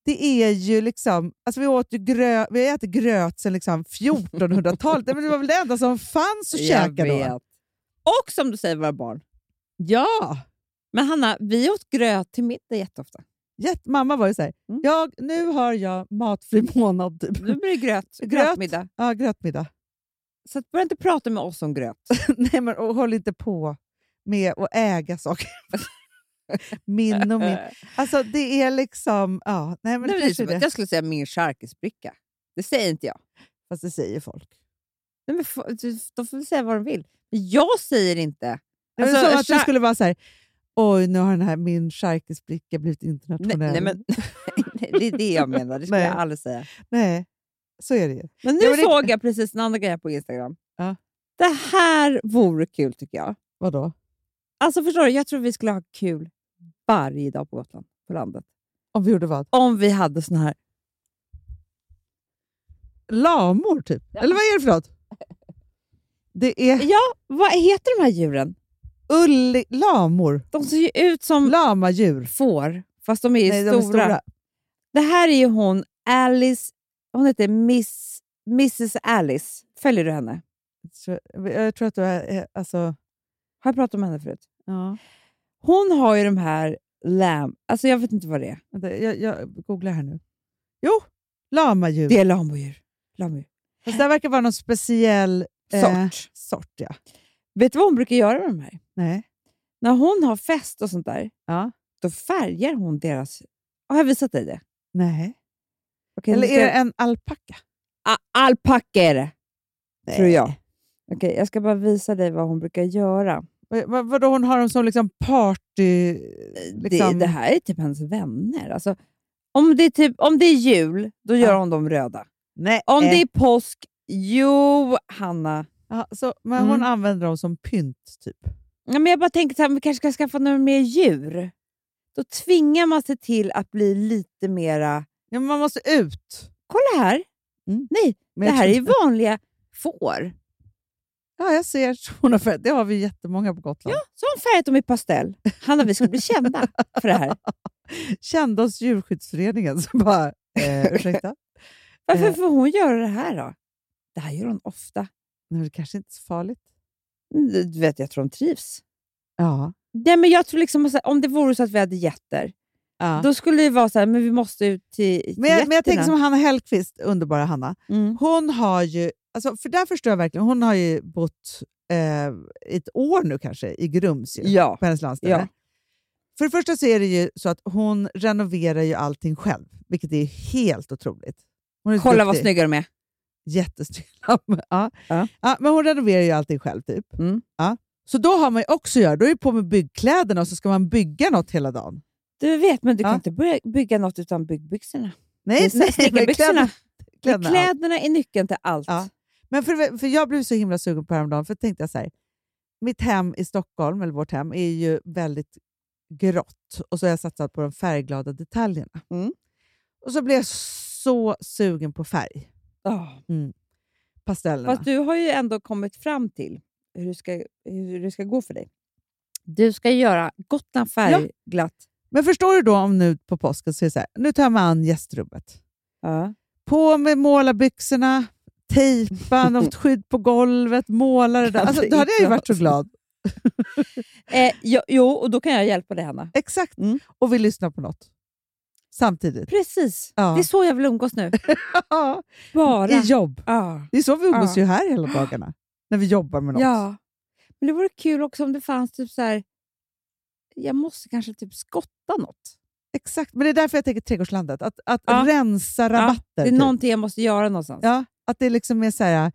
S3: det är ju liksom... Alltså vi, åt ju grö, vi har ätit gröt sedan liksom 1400-talet. Nej, men det var väl det enda som fanns att käka då?
S4: Och som du säger, våra barn.
S3: Ja!
S4: Men Hanna, vi åt gröt till middag jätteofta.
S3: Jätt, mamma var ju så här,
S4: Mm.
S3: jag, nu har jag matfri månad. Typ.
S4: Nu blir det gröt.
S3: Gröt.
S4: Grötmiddag.
S3: Ja, grötmiddag.
S4: Så att börja inte prata med oss om gröt.
S3: Nej, men och håll inte på med att äga saker. min och min.
S4: Eh,
S3: Alltså det är liksom... Ja, nej, men
S4: nej, men
S3: det kanske
S4: det är som
S3: är
S4: att
S3: det.
S4: jag skulle säga min charkisbricka. Det säger inte jag.
S3: Fast det säger folk.
S4: Nej, men få- du- de får väl säga vad de vill. Men jag säger inte.
S3: Alltså,
S4: Alltså,
S3: det är som att du
S4: char-
S3: skulle vara så här... Oj, nu har den här, min charkisbricka blivit
S4: Nej,
S3: internationell.
S4: nej, men, nej, det är det jag menar. Det skulle
S3: Nej.
S4: jag aldrig säga.
S3: Nej, så är det ju.
S4: Men nu
S3: Ja, men det-
S4: såg jag precis en annan grej här på Instagram.
S3: Ja.
S4: Det här vore kul tycker jag.
S3: Vadå?
S4: Alltså förstår du, jag tror vi skulle ha kul varje dag på Gotland, på landet.
S3: Om vi gjorde vad?
S4: Om vi hade såna här...
S3: Lamor, typ? Eller vad är det för något? Det är
S4: Ja, vad heter de här djuren?
S3: ulli... Lamor.
S4: De ser ju ut som
S3: Lamadjur.
S4: får, fast de är ju
S3: Mm. Nej, de
S4: stora.
S3: är stora.
S4: Det här är ju hon, Alice, hon heter Miss, Mrs Alice. Följer du henne?
S3: Så, jag tror att du är... eh, Alltså,
S4: Har jag pratat om henne förut?
S3: ja.
S4: Hon har ju de här lamb. Alltså jag vet inte vad det är.
S3: Vänta, Jag, jag googlar här nu. Jo, lamadjur.
S4: Det är lamodjur. lamodjur.
S3: Fast det här verkar vara någon speciell eh,
S4: Sort.
S3: sort. Ja.
S4: Vet du vad hon brukar göra med de här?
S3: Nej.
S4: När hon har fest och sånt där,
S3: Ja.
S4: då färgar hon deras... Har jag visat dig det?
S3: Nej.
S4: Okej, nu
S3: Eller
S4: ska
S3: är
S4: jag-
S3: det en alpacka?
S4: A- alpacka är det, tror
S3: Nej.
S4: jag. Okej, jag ska bara visa dig vad hon brukar göra.
S3: Vad, vad, vadå, hon har dem som liksom party...
S4: Det,
S3: Liksom.
S4: det här är typ hans vänner. Alltså, om, det är typ, om det är jul, då gör
S3: Ja.
S4: hon dem röda.
S3: Nej. eh,
S4: Om det är påsk, jo, Hanna.
S3: ja, så, men
S4: Mm.
S3: Hon använder dem som pynt, typ.
S4: Ja, men jag bara tänker att vi kanske ska skaffa några mer djur. Då tvingar man sig till att bli lite mera...
S3: Ja, men man måste ut.
S4: Kolla här!
S3: Mm.
S4: Nej,
S3: Men
S4: det
S3: jag
S4: här är
S3: tror
S4: ju
S3: inte-
S4: vanliga får.
S3: Ja, jag ser. Hon har färg. Det har vi jättemånga på Gotland.
S4: Så har hon färgat dem i pastell. Hanna, vi ska bli kända för det här.
S3: Kände oss Djurskyddsföreningen. Så bara, eh, ursäkta?
S4: Varför
S3: Eh.
S4: får hon göra det här då? Det här gör hon ofta.
S3: Nej, det kanske inte är så farligt.
S4: Du du vet, jag tror hon trivs.
S3: Ja.
S4: Nej, men jag tror liksom att så här, Om det vore så att vi hade getter,
S3: ja.
S4: då skulle det vara så här, men vi måste ut till, till
S3: Men jag, men jag tänker
S4: getterna.
S3: som Hanna Hellquist, underbara Hanna.
S4: Mm.
S3: Hon har ju, alltså, för där förstår jag verkligen, hon har ju bott eh, ett år nu kanske i Grums ju,
S4: Ja.
S3: på hennes landställe.
S4: Ja.
S3: För det första så är det ju så att hon renoverar ju allting själv, vilket är helt otroligt. Hon är så
S4: Kolla vad
S3: duktig.
S4: snygga de är.
S3: Jättesnygg lamm. Ja.
S4: Ja.
S3: Ja. men hon renoverar ju allting själv typ.
S4: Mm.
S3: Ja. Så då har man ju också att göra, då är det på med byggkläderna och så ska man bygga något hela dagen.
S4: Du vet, men du kan
S3: Ja.
S4: inte börja bygga något utan byggbyxorna. Det är
S3: Nej,
S4: så här
S3: men
S4: Snickarbyxorna.
S3: kläderna,
S4: Men
S3: kläderna, ja.
S4: Kläderna är nyckeln till allt.
S3: Ja. Men för, för jag blev så himla sugen på häromdagen, för tänkte jag så här. Mitt hem i Stockholm, eller vårt hem, är ju väldigt grått. Och så har jag satsat på de färgglada detaljerna.
S4: Mm.
S3: Och så blev jag så sugen på färg,
S4: Ja.
S3: pastellerna.
S4: Fast du har ju ändå kommit fram till hur det ska, hur det ska gå för dig. Du ska göra Gotland färgglatt.
S3: Men förstår du då om nu på påsken så är det så här, nu tar jag mig an gästrummet.
S4: Ja.
S3: På med målarbyxorna, tejpa något skydd på golvet, måla det där. Alltså, då hade jag ju varit så glad.
S4: Eh, jo, jo, och då kan jag hjälpa dig, Hanna.
S3: Exakt.
S4: Mm.
S3: Och vi lyssnar på något samtidigt.
S4: Precis.
S3: Ja.
S4: Det är så jag vill umgås nu. Bara.
S3: I jobb.
S4: Ja.
S3: Det är så vi umgås
S4: Ja.
S3: ju här hela dagarna. När vi jobbar med något.
S4: ja. Men det vore kul också om det fanns typ så här... Jag måste kanske typ skotta något.
S3: Exakt. Men det är därför jag tänker trädgårdslandet. Att, att
S4: Ja.
S3: rensa rabatter.
S4: Det är
S3: typ.
S4: någonting jag måste göra någonstans.
S3: ja, att det liksom är så här,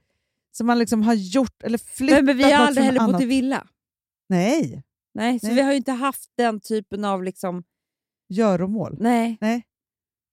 S3: som man liksom har gjort eller flyttat
S4: men, men vi har
S3: något
S4: aldrig
S3: från
S4: heller bott
S3: annat.
S4: i villa.
S3: Nej,
S4: Nej, så
S3: Nej.
S4: vi har ju inte haft den typen av liksom...
S3: göromål.
S4: Nej,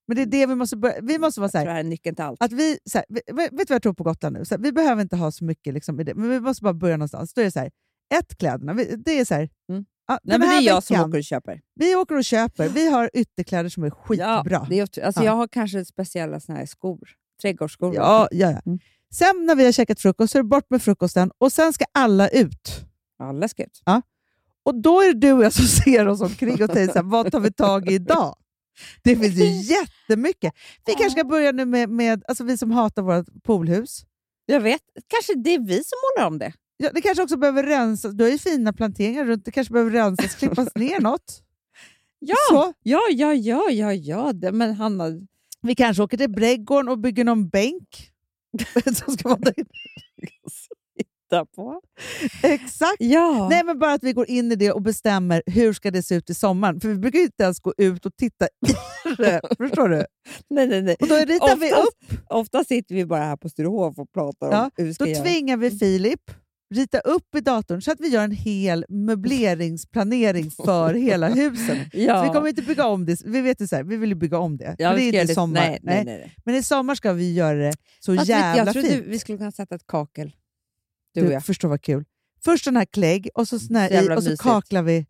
S3: Men det är det vi måste börja, vi måste vara så
S4: jag tror det
S3: här,
S4: här är nyckeln till allt.
S3: att vi, så här, vi- vet du vad jag tror på Gotland nu? Så här, vi behöver inte ha så mycket liksom, i det, men vi måste bara börja någonstans. Då är det så här, ett kläderna, vi, det är så här,
S4: Mm.
S3: ja,
S4: Nej,
S3: den
S4: men det
S3: här
S4: är jag som
S3: veckan,
S4: åker och köper.
S3: Vi åker och köper, vi har ytterkläder som är skitbra.
S4: Ja, det är, otroligt. alltså,
S3: Ja.
S4: Jag har kanske speciella såna här skor. Trädgårdsskor.
S3: Ja, ja, ja.
S4: Mm.
S3: Sen när vi har käkat frukost så är det bort med frukosten och sen ska alla ut.
S4: Alla ska ut.
S3: Och då är det du och jag som ser oss omkring och tänker så här, vad tar vi tag i idag? Det finns ju jättemycket. Vi kanske ska börja nu med, med alltså vi som hatar vårt poolhus.
S4: Jag vet. Kanske det är vi som målar om det.
S3: Ja, det kanske också behöver rensas. Du har ju fina planteringar runt. Det kanske behöver rensas, klippas ner något.
S4: Ja,
S3: Så,
S4: ja, ja, ja, ja. ja. Det, men Hanna,
S3: vi kanske åker till Brädgården och bygger någon bänk. som ska vara där. inne.
S4: titta på.
S3: Exakt.
S4: Ja.
S3: Nej, men bara att vi går in i det och bestämmer hur ska det se ut i sommaren. För vi brukar ju inte ens gå ut och titta i det. Förstår du?
S4: nej, nej, nej.
S3: Och då ritar vi upp,
S4: ofta sitter vi bara här på Sturehof och pratar om
S3: Ja,
S4: hur vi ska
S3: då
S4: göra.
S3: tvingar vi Filip rita upp i datorn så att vi gör en hel möbleringsplanering för hela huset.
S4: Ja.
S3: Så vi kommer inte bygga om det. Vi vet ju så här, vi vill ju bygga om det.
S4: Ja,
S3: men
S4: vi
S3: det
S4: ska
S3: är
S4: göra
S3: inte
S4: det-
S3: i sommar.
S4: Nej, nej, nej. nej.
S3: Men i sommar ska vi göra det så
S4: Fast vet du,
S3: jävla
S4: jag trodde
S3: fint.
S4: vi skulle kunna sätta ett kakel.
S3: Du,
S4: Du och jag. Mm,
S3: förstår vad kul. Först den här klägg och så snö
S4: Så jävla
S3: i och så
S4: mysigt.
S3: kaklar vi.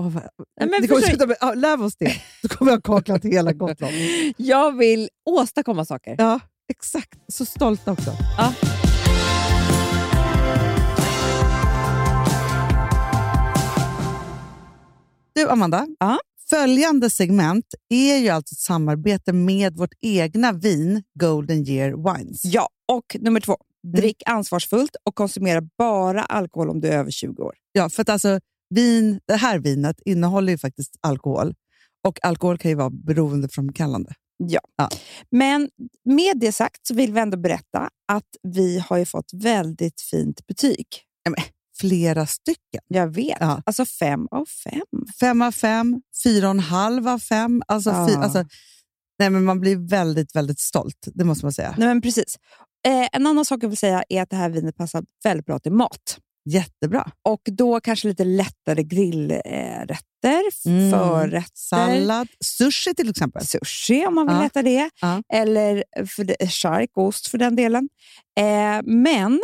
S3: Åh, vad,
S4: Nej, men
S3: det kommer
S4: försök-
S3: sluta med, ja, lär oss det. Då kommer jag kakla till hela Gotland.
S4: Jag vill åstadkomma saker.
S3: Ja, exakt. Så stolt också.
S4: Ja.
S3: Du, Amanda.
S4: Ja.
S3: Följande segment är ju alltså ett samarbete med vårt egna vin Golden Year Wines.
S4: Ja, och nummer två. Drick ansvarsfullt och konsumera bara alkohol om du är över 20 år.
S3: Ja, för att alltså vin, det här vinet innehåller ju faktiskt alkohol. Och alkohol kan ju vara beroendeframkallande.
S4: Men med det sagt så vill vi ändå berätta att vi har ju fått väldigt fint betyg.
S3: Flera stycken.
S4: Jag vet.
S3: Ja.
S4: Alltså fem av fem.
S3: Fem av fem, fyra och en halv av fem. Alltså, fy,
S4: Ja.
S3: alltså, nej, men man blir väldigt, väldigt stolt. Det måste man säga.
S4: Nej, men precis. Eh, en annan sak jag vill säga är att det här vinet passar väldigt bra till mat.
S3: Jättebra.
S4: Och då kanske lite lättare grillrätter,
S3: Mm.
S4: förrätter,
S3: Sallad, sushi till exempel.
S4: sushi om man vill
S3: Ja.
S4: äta det,
S3: Ja.
S4: eller för det, chark, ost för den delen. Eh, men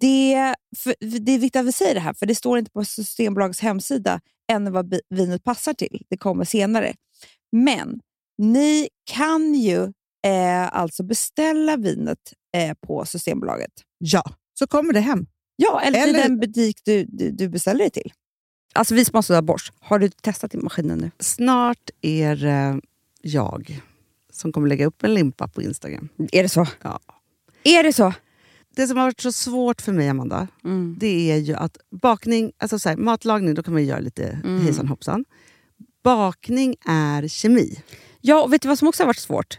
S4: det, för, för det är viktigt att vi säger det här, för det står inte på Systembolagets hemsida ännu vad bi- vinet passar till. Det kommer senare. Men ni kan ju eh, alltså beställa vinet eh, på Systembolaget.
S3: Ja, så kommer det hem.
S4: Ja, eller, till
S3: Eller-
S4: den butik du, du, du beställer det till. Alltså vi sponsrar Bors. Har du testat i maskinen nu?
S3: Snart är eh, jag som kommer lägga upp en limpa på Instagram.
S4: Är det så?
S3: Ja.
S4: Är det så?
S3: Det som har varit så svårt för mig, Amanda, det är ju att bakning, alltså så här, matlagning, då kan man ju göra lite hejsan hoppsan. Bakning är kemi.
S4: Ja, och vet du vad som också har varit svårt?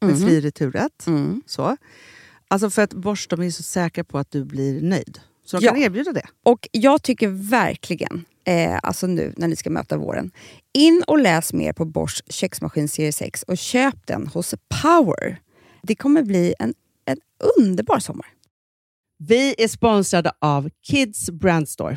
S3: med fri returrätt.
S4: Mm.
S3: Så. Alltså för att Bors de är ju så säkra på att du blir nöjd. Så de
S4: Ja.
S3: kan erbjuda det.
S4: Och jag tycker verkligen, eh, alltså nu när ni ska möta våren, in och läs mer på Bosch köksmaskin serie 6 och köp den hos Power. Det kommer bli en, en underbar sommar.
S3: Vi är sponsrade av Kids Brand Store.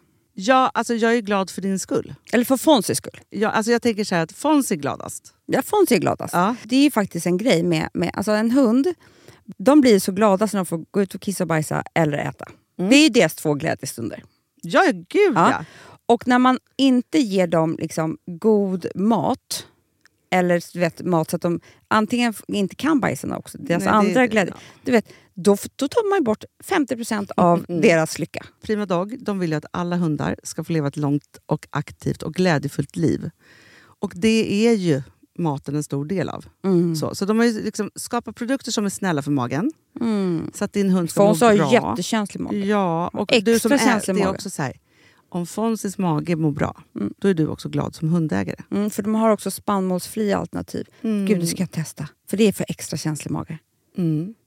S3: Ja, alltså jag är glad för din skull.
S4: Eller för Fonzys skull.
S3: Jag, alltså jag tänker så här att Fons är gladast.
S4: Ja, Fonzie är gladast.
S3: Ja.
S4: alltså. Det är ju faktiskt en grej med, med alltså en hund. De blir så glada när de får gå ut och kissa och bajsa eller äta. Det är ju deras två glädjestunder.
S3: Ja, gud
S4: Ja.
S3: Mm. ja.
S4: Och när man inte ger dem liksom god mat, eller du vet, mat så att de antingen f- inte kan bajsa också, deras
S3: Nej, det-
S4: andra
S3: det-
S4: glädje,
S3: ja.
S4: du vet, då, f- då tar man ju bort 50% av
S3: Mm.
S4: deras lycka.
S3: Prima Dog de vill ju att alla hundar ska få leva ett långt, och aktivt och glädjefullt liv. Och det är ju maten en stor del av.
S4: Mm.
S3: Så, så de har ju liksom skapat produkter som är snälla för magen,
S4: Mm.
S3: så att din hund ska
S4: Fons
S3: må
S4: har
S3: bra.
S4: ju jättekänslig mage.
S3: Ja, och
S4: Extra
S3: du som är,
S4: känslig
S3: det är
S4: mage.
S3: också så här, om Fonzis mage mår bra, då är du också glad som hundägare.
S4: Mm, för de har också spannmålsfria alternativ. Gud, det ska jag testa. För det är för extra känslig mage.
S3: Mm.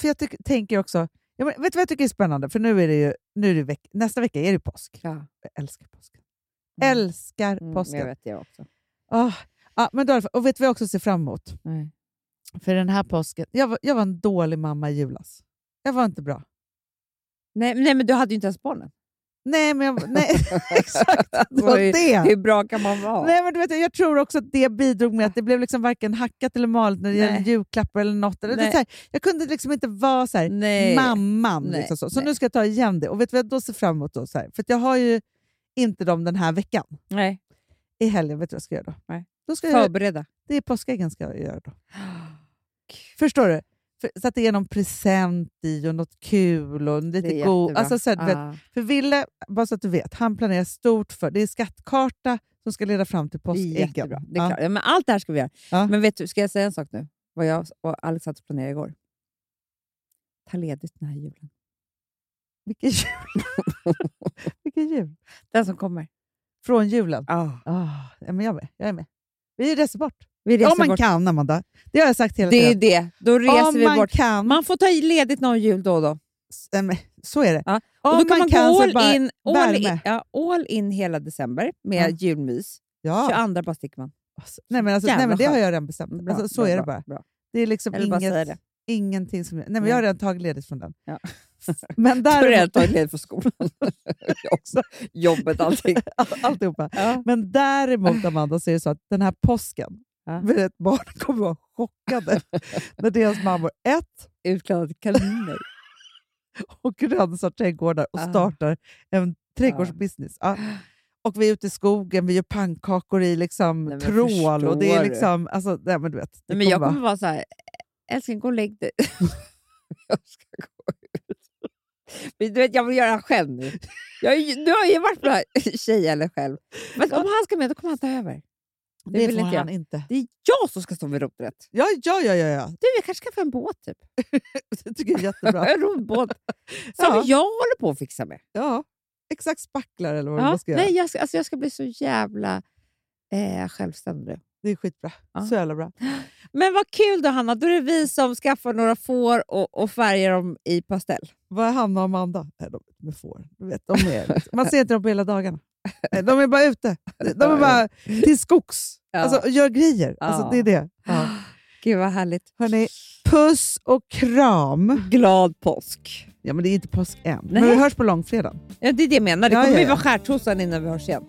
S3: För jag tyck- tänker också, ja, men vet du vad jag tycker är spännande? För nu är det ju, nu är det veck- nästa vecka är det påsk.
S4: Ja.
S3: Jag älskar påsken. Älskar påsken.
S6: Mm. vet det också.
S3: Ah, ja, men då, i alla fall- och vet du vad jag också ser fram emot?
S6: Nej.
S3: För den här påsken, jag var, jag var en dålig mamma i julas. Jag var inte bra.
S6: Nej, nej, men du hade ju inte ens barnen.
S3: Nej, men jag, nej exakt. Det var
S4: Vad är-
S3: det.
S4: Hur bra kan man vara?
S3: Nej, men du vet, jag tror också att det bidrog med att det blev liksom varken hackat eller malet när det gäller
S6: Nej.
S3: julklappar eller något. Eller det är
S6: Nej.
S3: så här, jag kunde liksom inte vara så här,
S6: Nej.
S3: mamman.
S6: Nej,
S3: Liksom så så
S6: nej.
S3: nu ska jag ta igen det. Och vet du vad jag då ser fram emot? Då, så här, för att jag har ju inte dem den här veckan.
S6: Nej.
S3: I helgen, vet du vad jag ska göra då?
S6: Nej.
S3: då ska jag,
S4: Förberedda.
S3: det är påskäggen ska jag göra då. Förstår du? För, så att det är någon present i och något kul och lite
S6: Det är
S3: god...
S6: jättebra.
S3: Alltså, så här, du vet,
S6: Ah.
S3: för Ville, bara så att du vet, han planerar stort för... Det är skattkarta som ska leda fram till
S6: Det är
S3: påskäggen.
S6: jättebra. Det är
S3: Ja.
S6: klart. Ja, men allt det här ska vi göra.
S3: Ja.
S6: Men vet du, ska jag säga en sak nu? Vad jag och Alex satt och planerade igår. Ta ledigt den här julen.
S3: Vilken jul! Vilken jul!
S6: Den som kommer.
S3: Från julen.
S6: Ah.
S3: Ah, ja, men jag, är med. jag är med. Vi reser bort.
S6: Vi reser
S3: Om man
S6: bort.
S3: kan, Amanda. Det har jag sagt hela
S6: Det är
S3: tiden.
S6: det. Då reser
S3: Om
S6: vi
S3: man
S6: bort.
S3: kan.
S6: Man får ta ledigt någon jul då och då.
S3: Nej, men så är det.
S6: Ja,
S3: Om
S6: och då kan man, gå
S3: så
S6: all,
S3: bara-
S6: in, all, in,
S3: värme.
S6: ja, all in hela december med
S3: Ja.
S6: julmys.
S3: Ja.
S6: 22 bara sticker man.
S3: Nej, men, alltså, nej,
S6: Jävla
S3: men det har
S6: skönt.
S3: jag redan bestämt.
S6: Bra,
S3: Alltså, så
S6: bra,
S3: är det
S6: bra,
S3: bara.
S6: Bra.
S3: Det är liksom
S6: Eller bara säga
S3: inget,
S6: det.
S3: ingenting som... Nej, men
S6: Nej.
S3: jag har redan tagit ledigt från den.
S6: Ja.
S3: Men
S6: Du har redan
S3: däremot,
S6: tagit ledigt från skolan. Jag också. Jobbet, allting.
S3: alltihopa.
S6: Ja.
S3: Men däremot Amanda, så är det så att den här påsken,
S6: Ja.
S3: ja. ett barn kommer vara chockade när deras mammor ett,
S6: Utklädda till kaniner.
S3: och rensar trädgårdar och
S6: Ah.
S3: startar en trädgårdsbusiness. Ja. Och vi är ute i skogen, vi gör pannkakor i liksom
S6: Nej, men
S3: trål. Och det är
S6: förstår du?
S3: liksom, alltså, nej, men du vet, det
S6: Nej, men jag
S3: kommer
S6: kommer
S3: vara-
S6: vara så här, älskling gå och lägg dig. jag ska gå ut. Men du vet, jag vill göra det själv nu. Jag, är ju- du har ju varit bra tjej eller själv. Men om han ska med, då kommer han ta över. Det,
S3: det
S6: vill
S3: får
S6: inte
S3: han
S6: jag.
S3: inte.
S6: Det är jag som ska stå vid rodret.
S3: Ja, ja, ja, ja, ja.
S6: Du, jag kanske ska få en båt typ.
S3: Det tycker jag är jättebra.
S6: En roddbåt. Som
S3: Ja.
S6: jag håller på att fixa med.
S3: Ja. Exakt spacklar eller vad
S6: Ja,
S3: man ska göra.
S6: Nej, jag, ska, alltså, jag ska bli så jävla eh, självständig.
S3: Det är skitbra.
S6: Ja.
S3: Så jävla bra.
S6: Men vad kul då Hanna, då är det vi som skaffar några får och, och färgar dem i pastell.
S3: Vad är Hanna och Amanda? Nej, de de är får. Du vet, de är, man ser inte dem på hela dagarna. Nej, De är bara ute. De är bara till skogs.
S6: Ja.
S3: Alltså, gör grejer. Alltså,
S6: Ja.
S3: det är det. Ja.
S6: Gud vad härligt.
S3: Hörrni, puss och kram.
S6: Glad påsk!
S3: Ja, men det är inte påsk än.
S6: Nej.
S3: Men vi hörs på långfredagen.
S6: Ja, det är det jag menar. Det
S3: Ja,
S6: kommer
S3: ja,
S6: ju
S3: ja.
S6: vara skärtorsdagen innan vi hörs igen.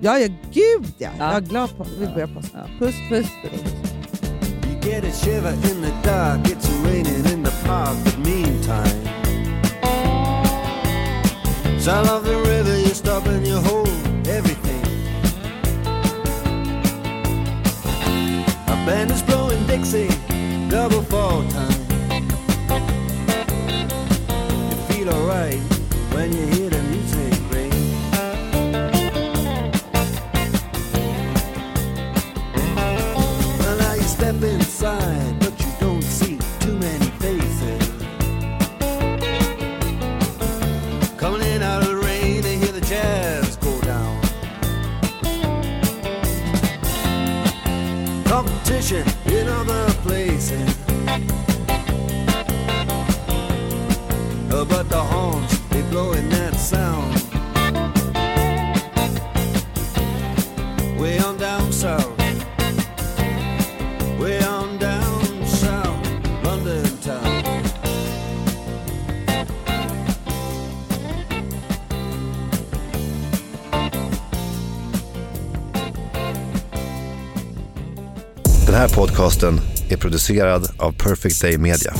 S3: Ja, ja, gud ja.
S6: Ja.
S3: Jag är glad på Vi börjar påsk.
S6: Ja.
S3: Puss.
S6: Puss!
S5: You get a shiver in the dark, it's raining in the park, but meantime. Sound of the river, you stop and you hold everything. A band is blowing Dixie, double fall time. You feel alright when you hear the music ring. side, but you don't see too many faces. Coming in out of the rain, they hear the jazz go down. Competition in other places. Uh, But the horns, they blowing that sound. Way on down south. Way on down south, London town.
S7: Den här podcasten är producerad av Perfect Day Media.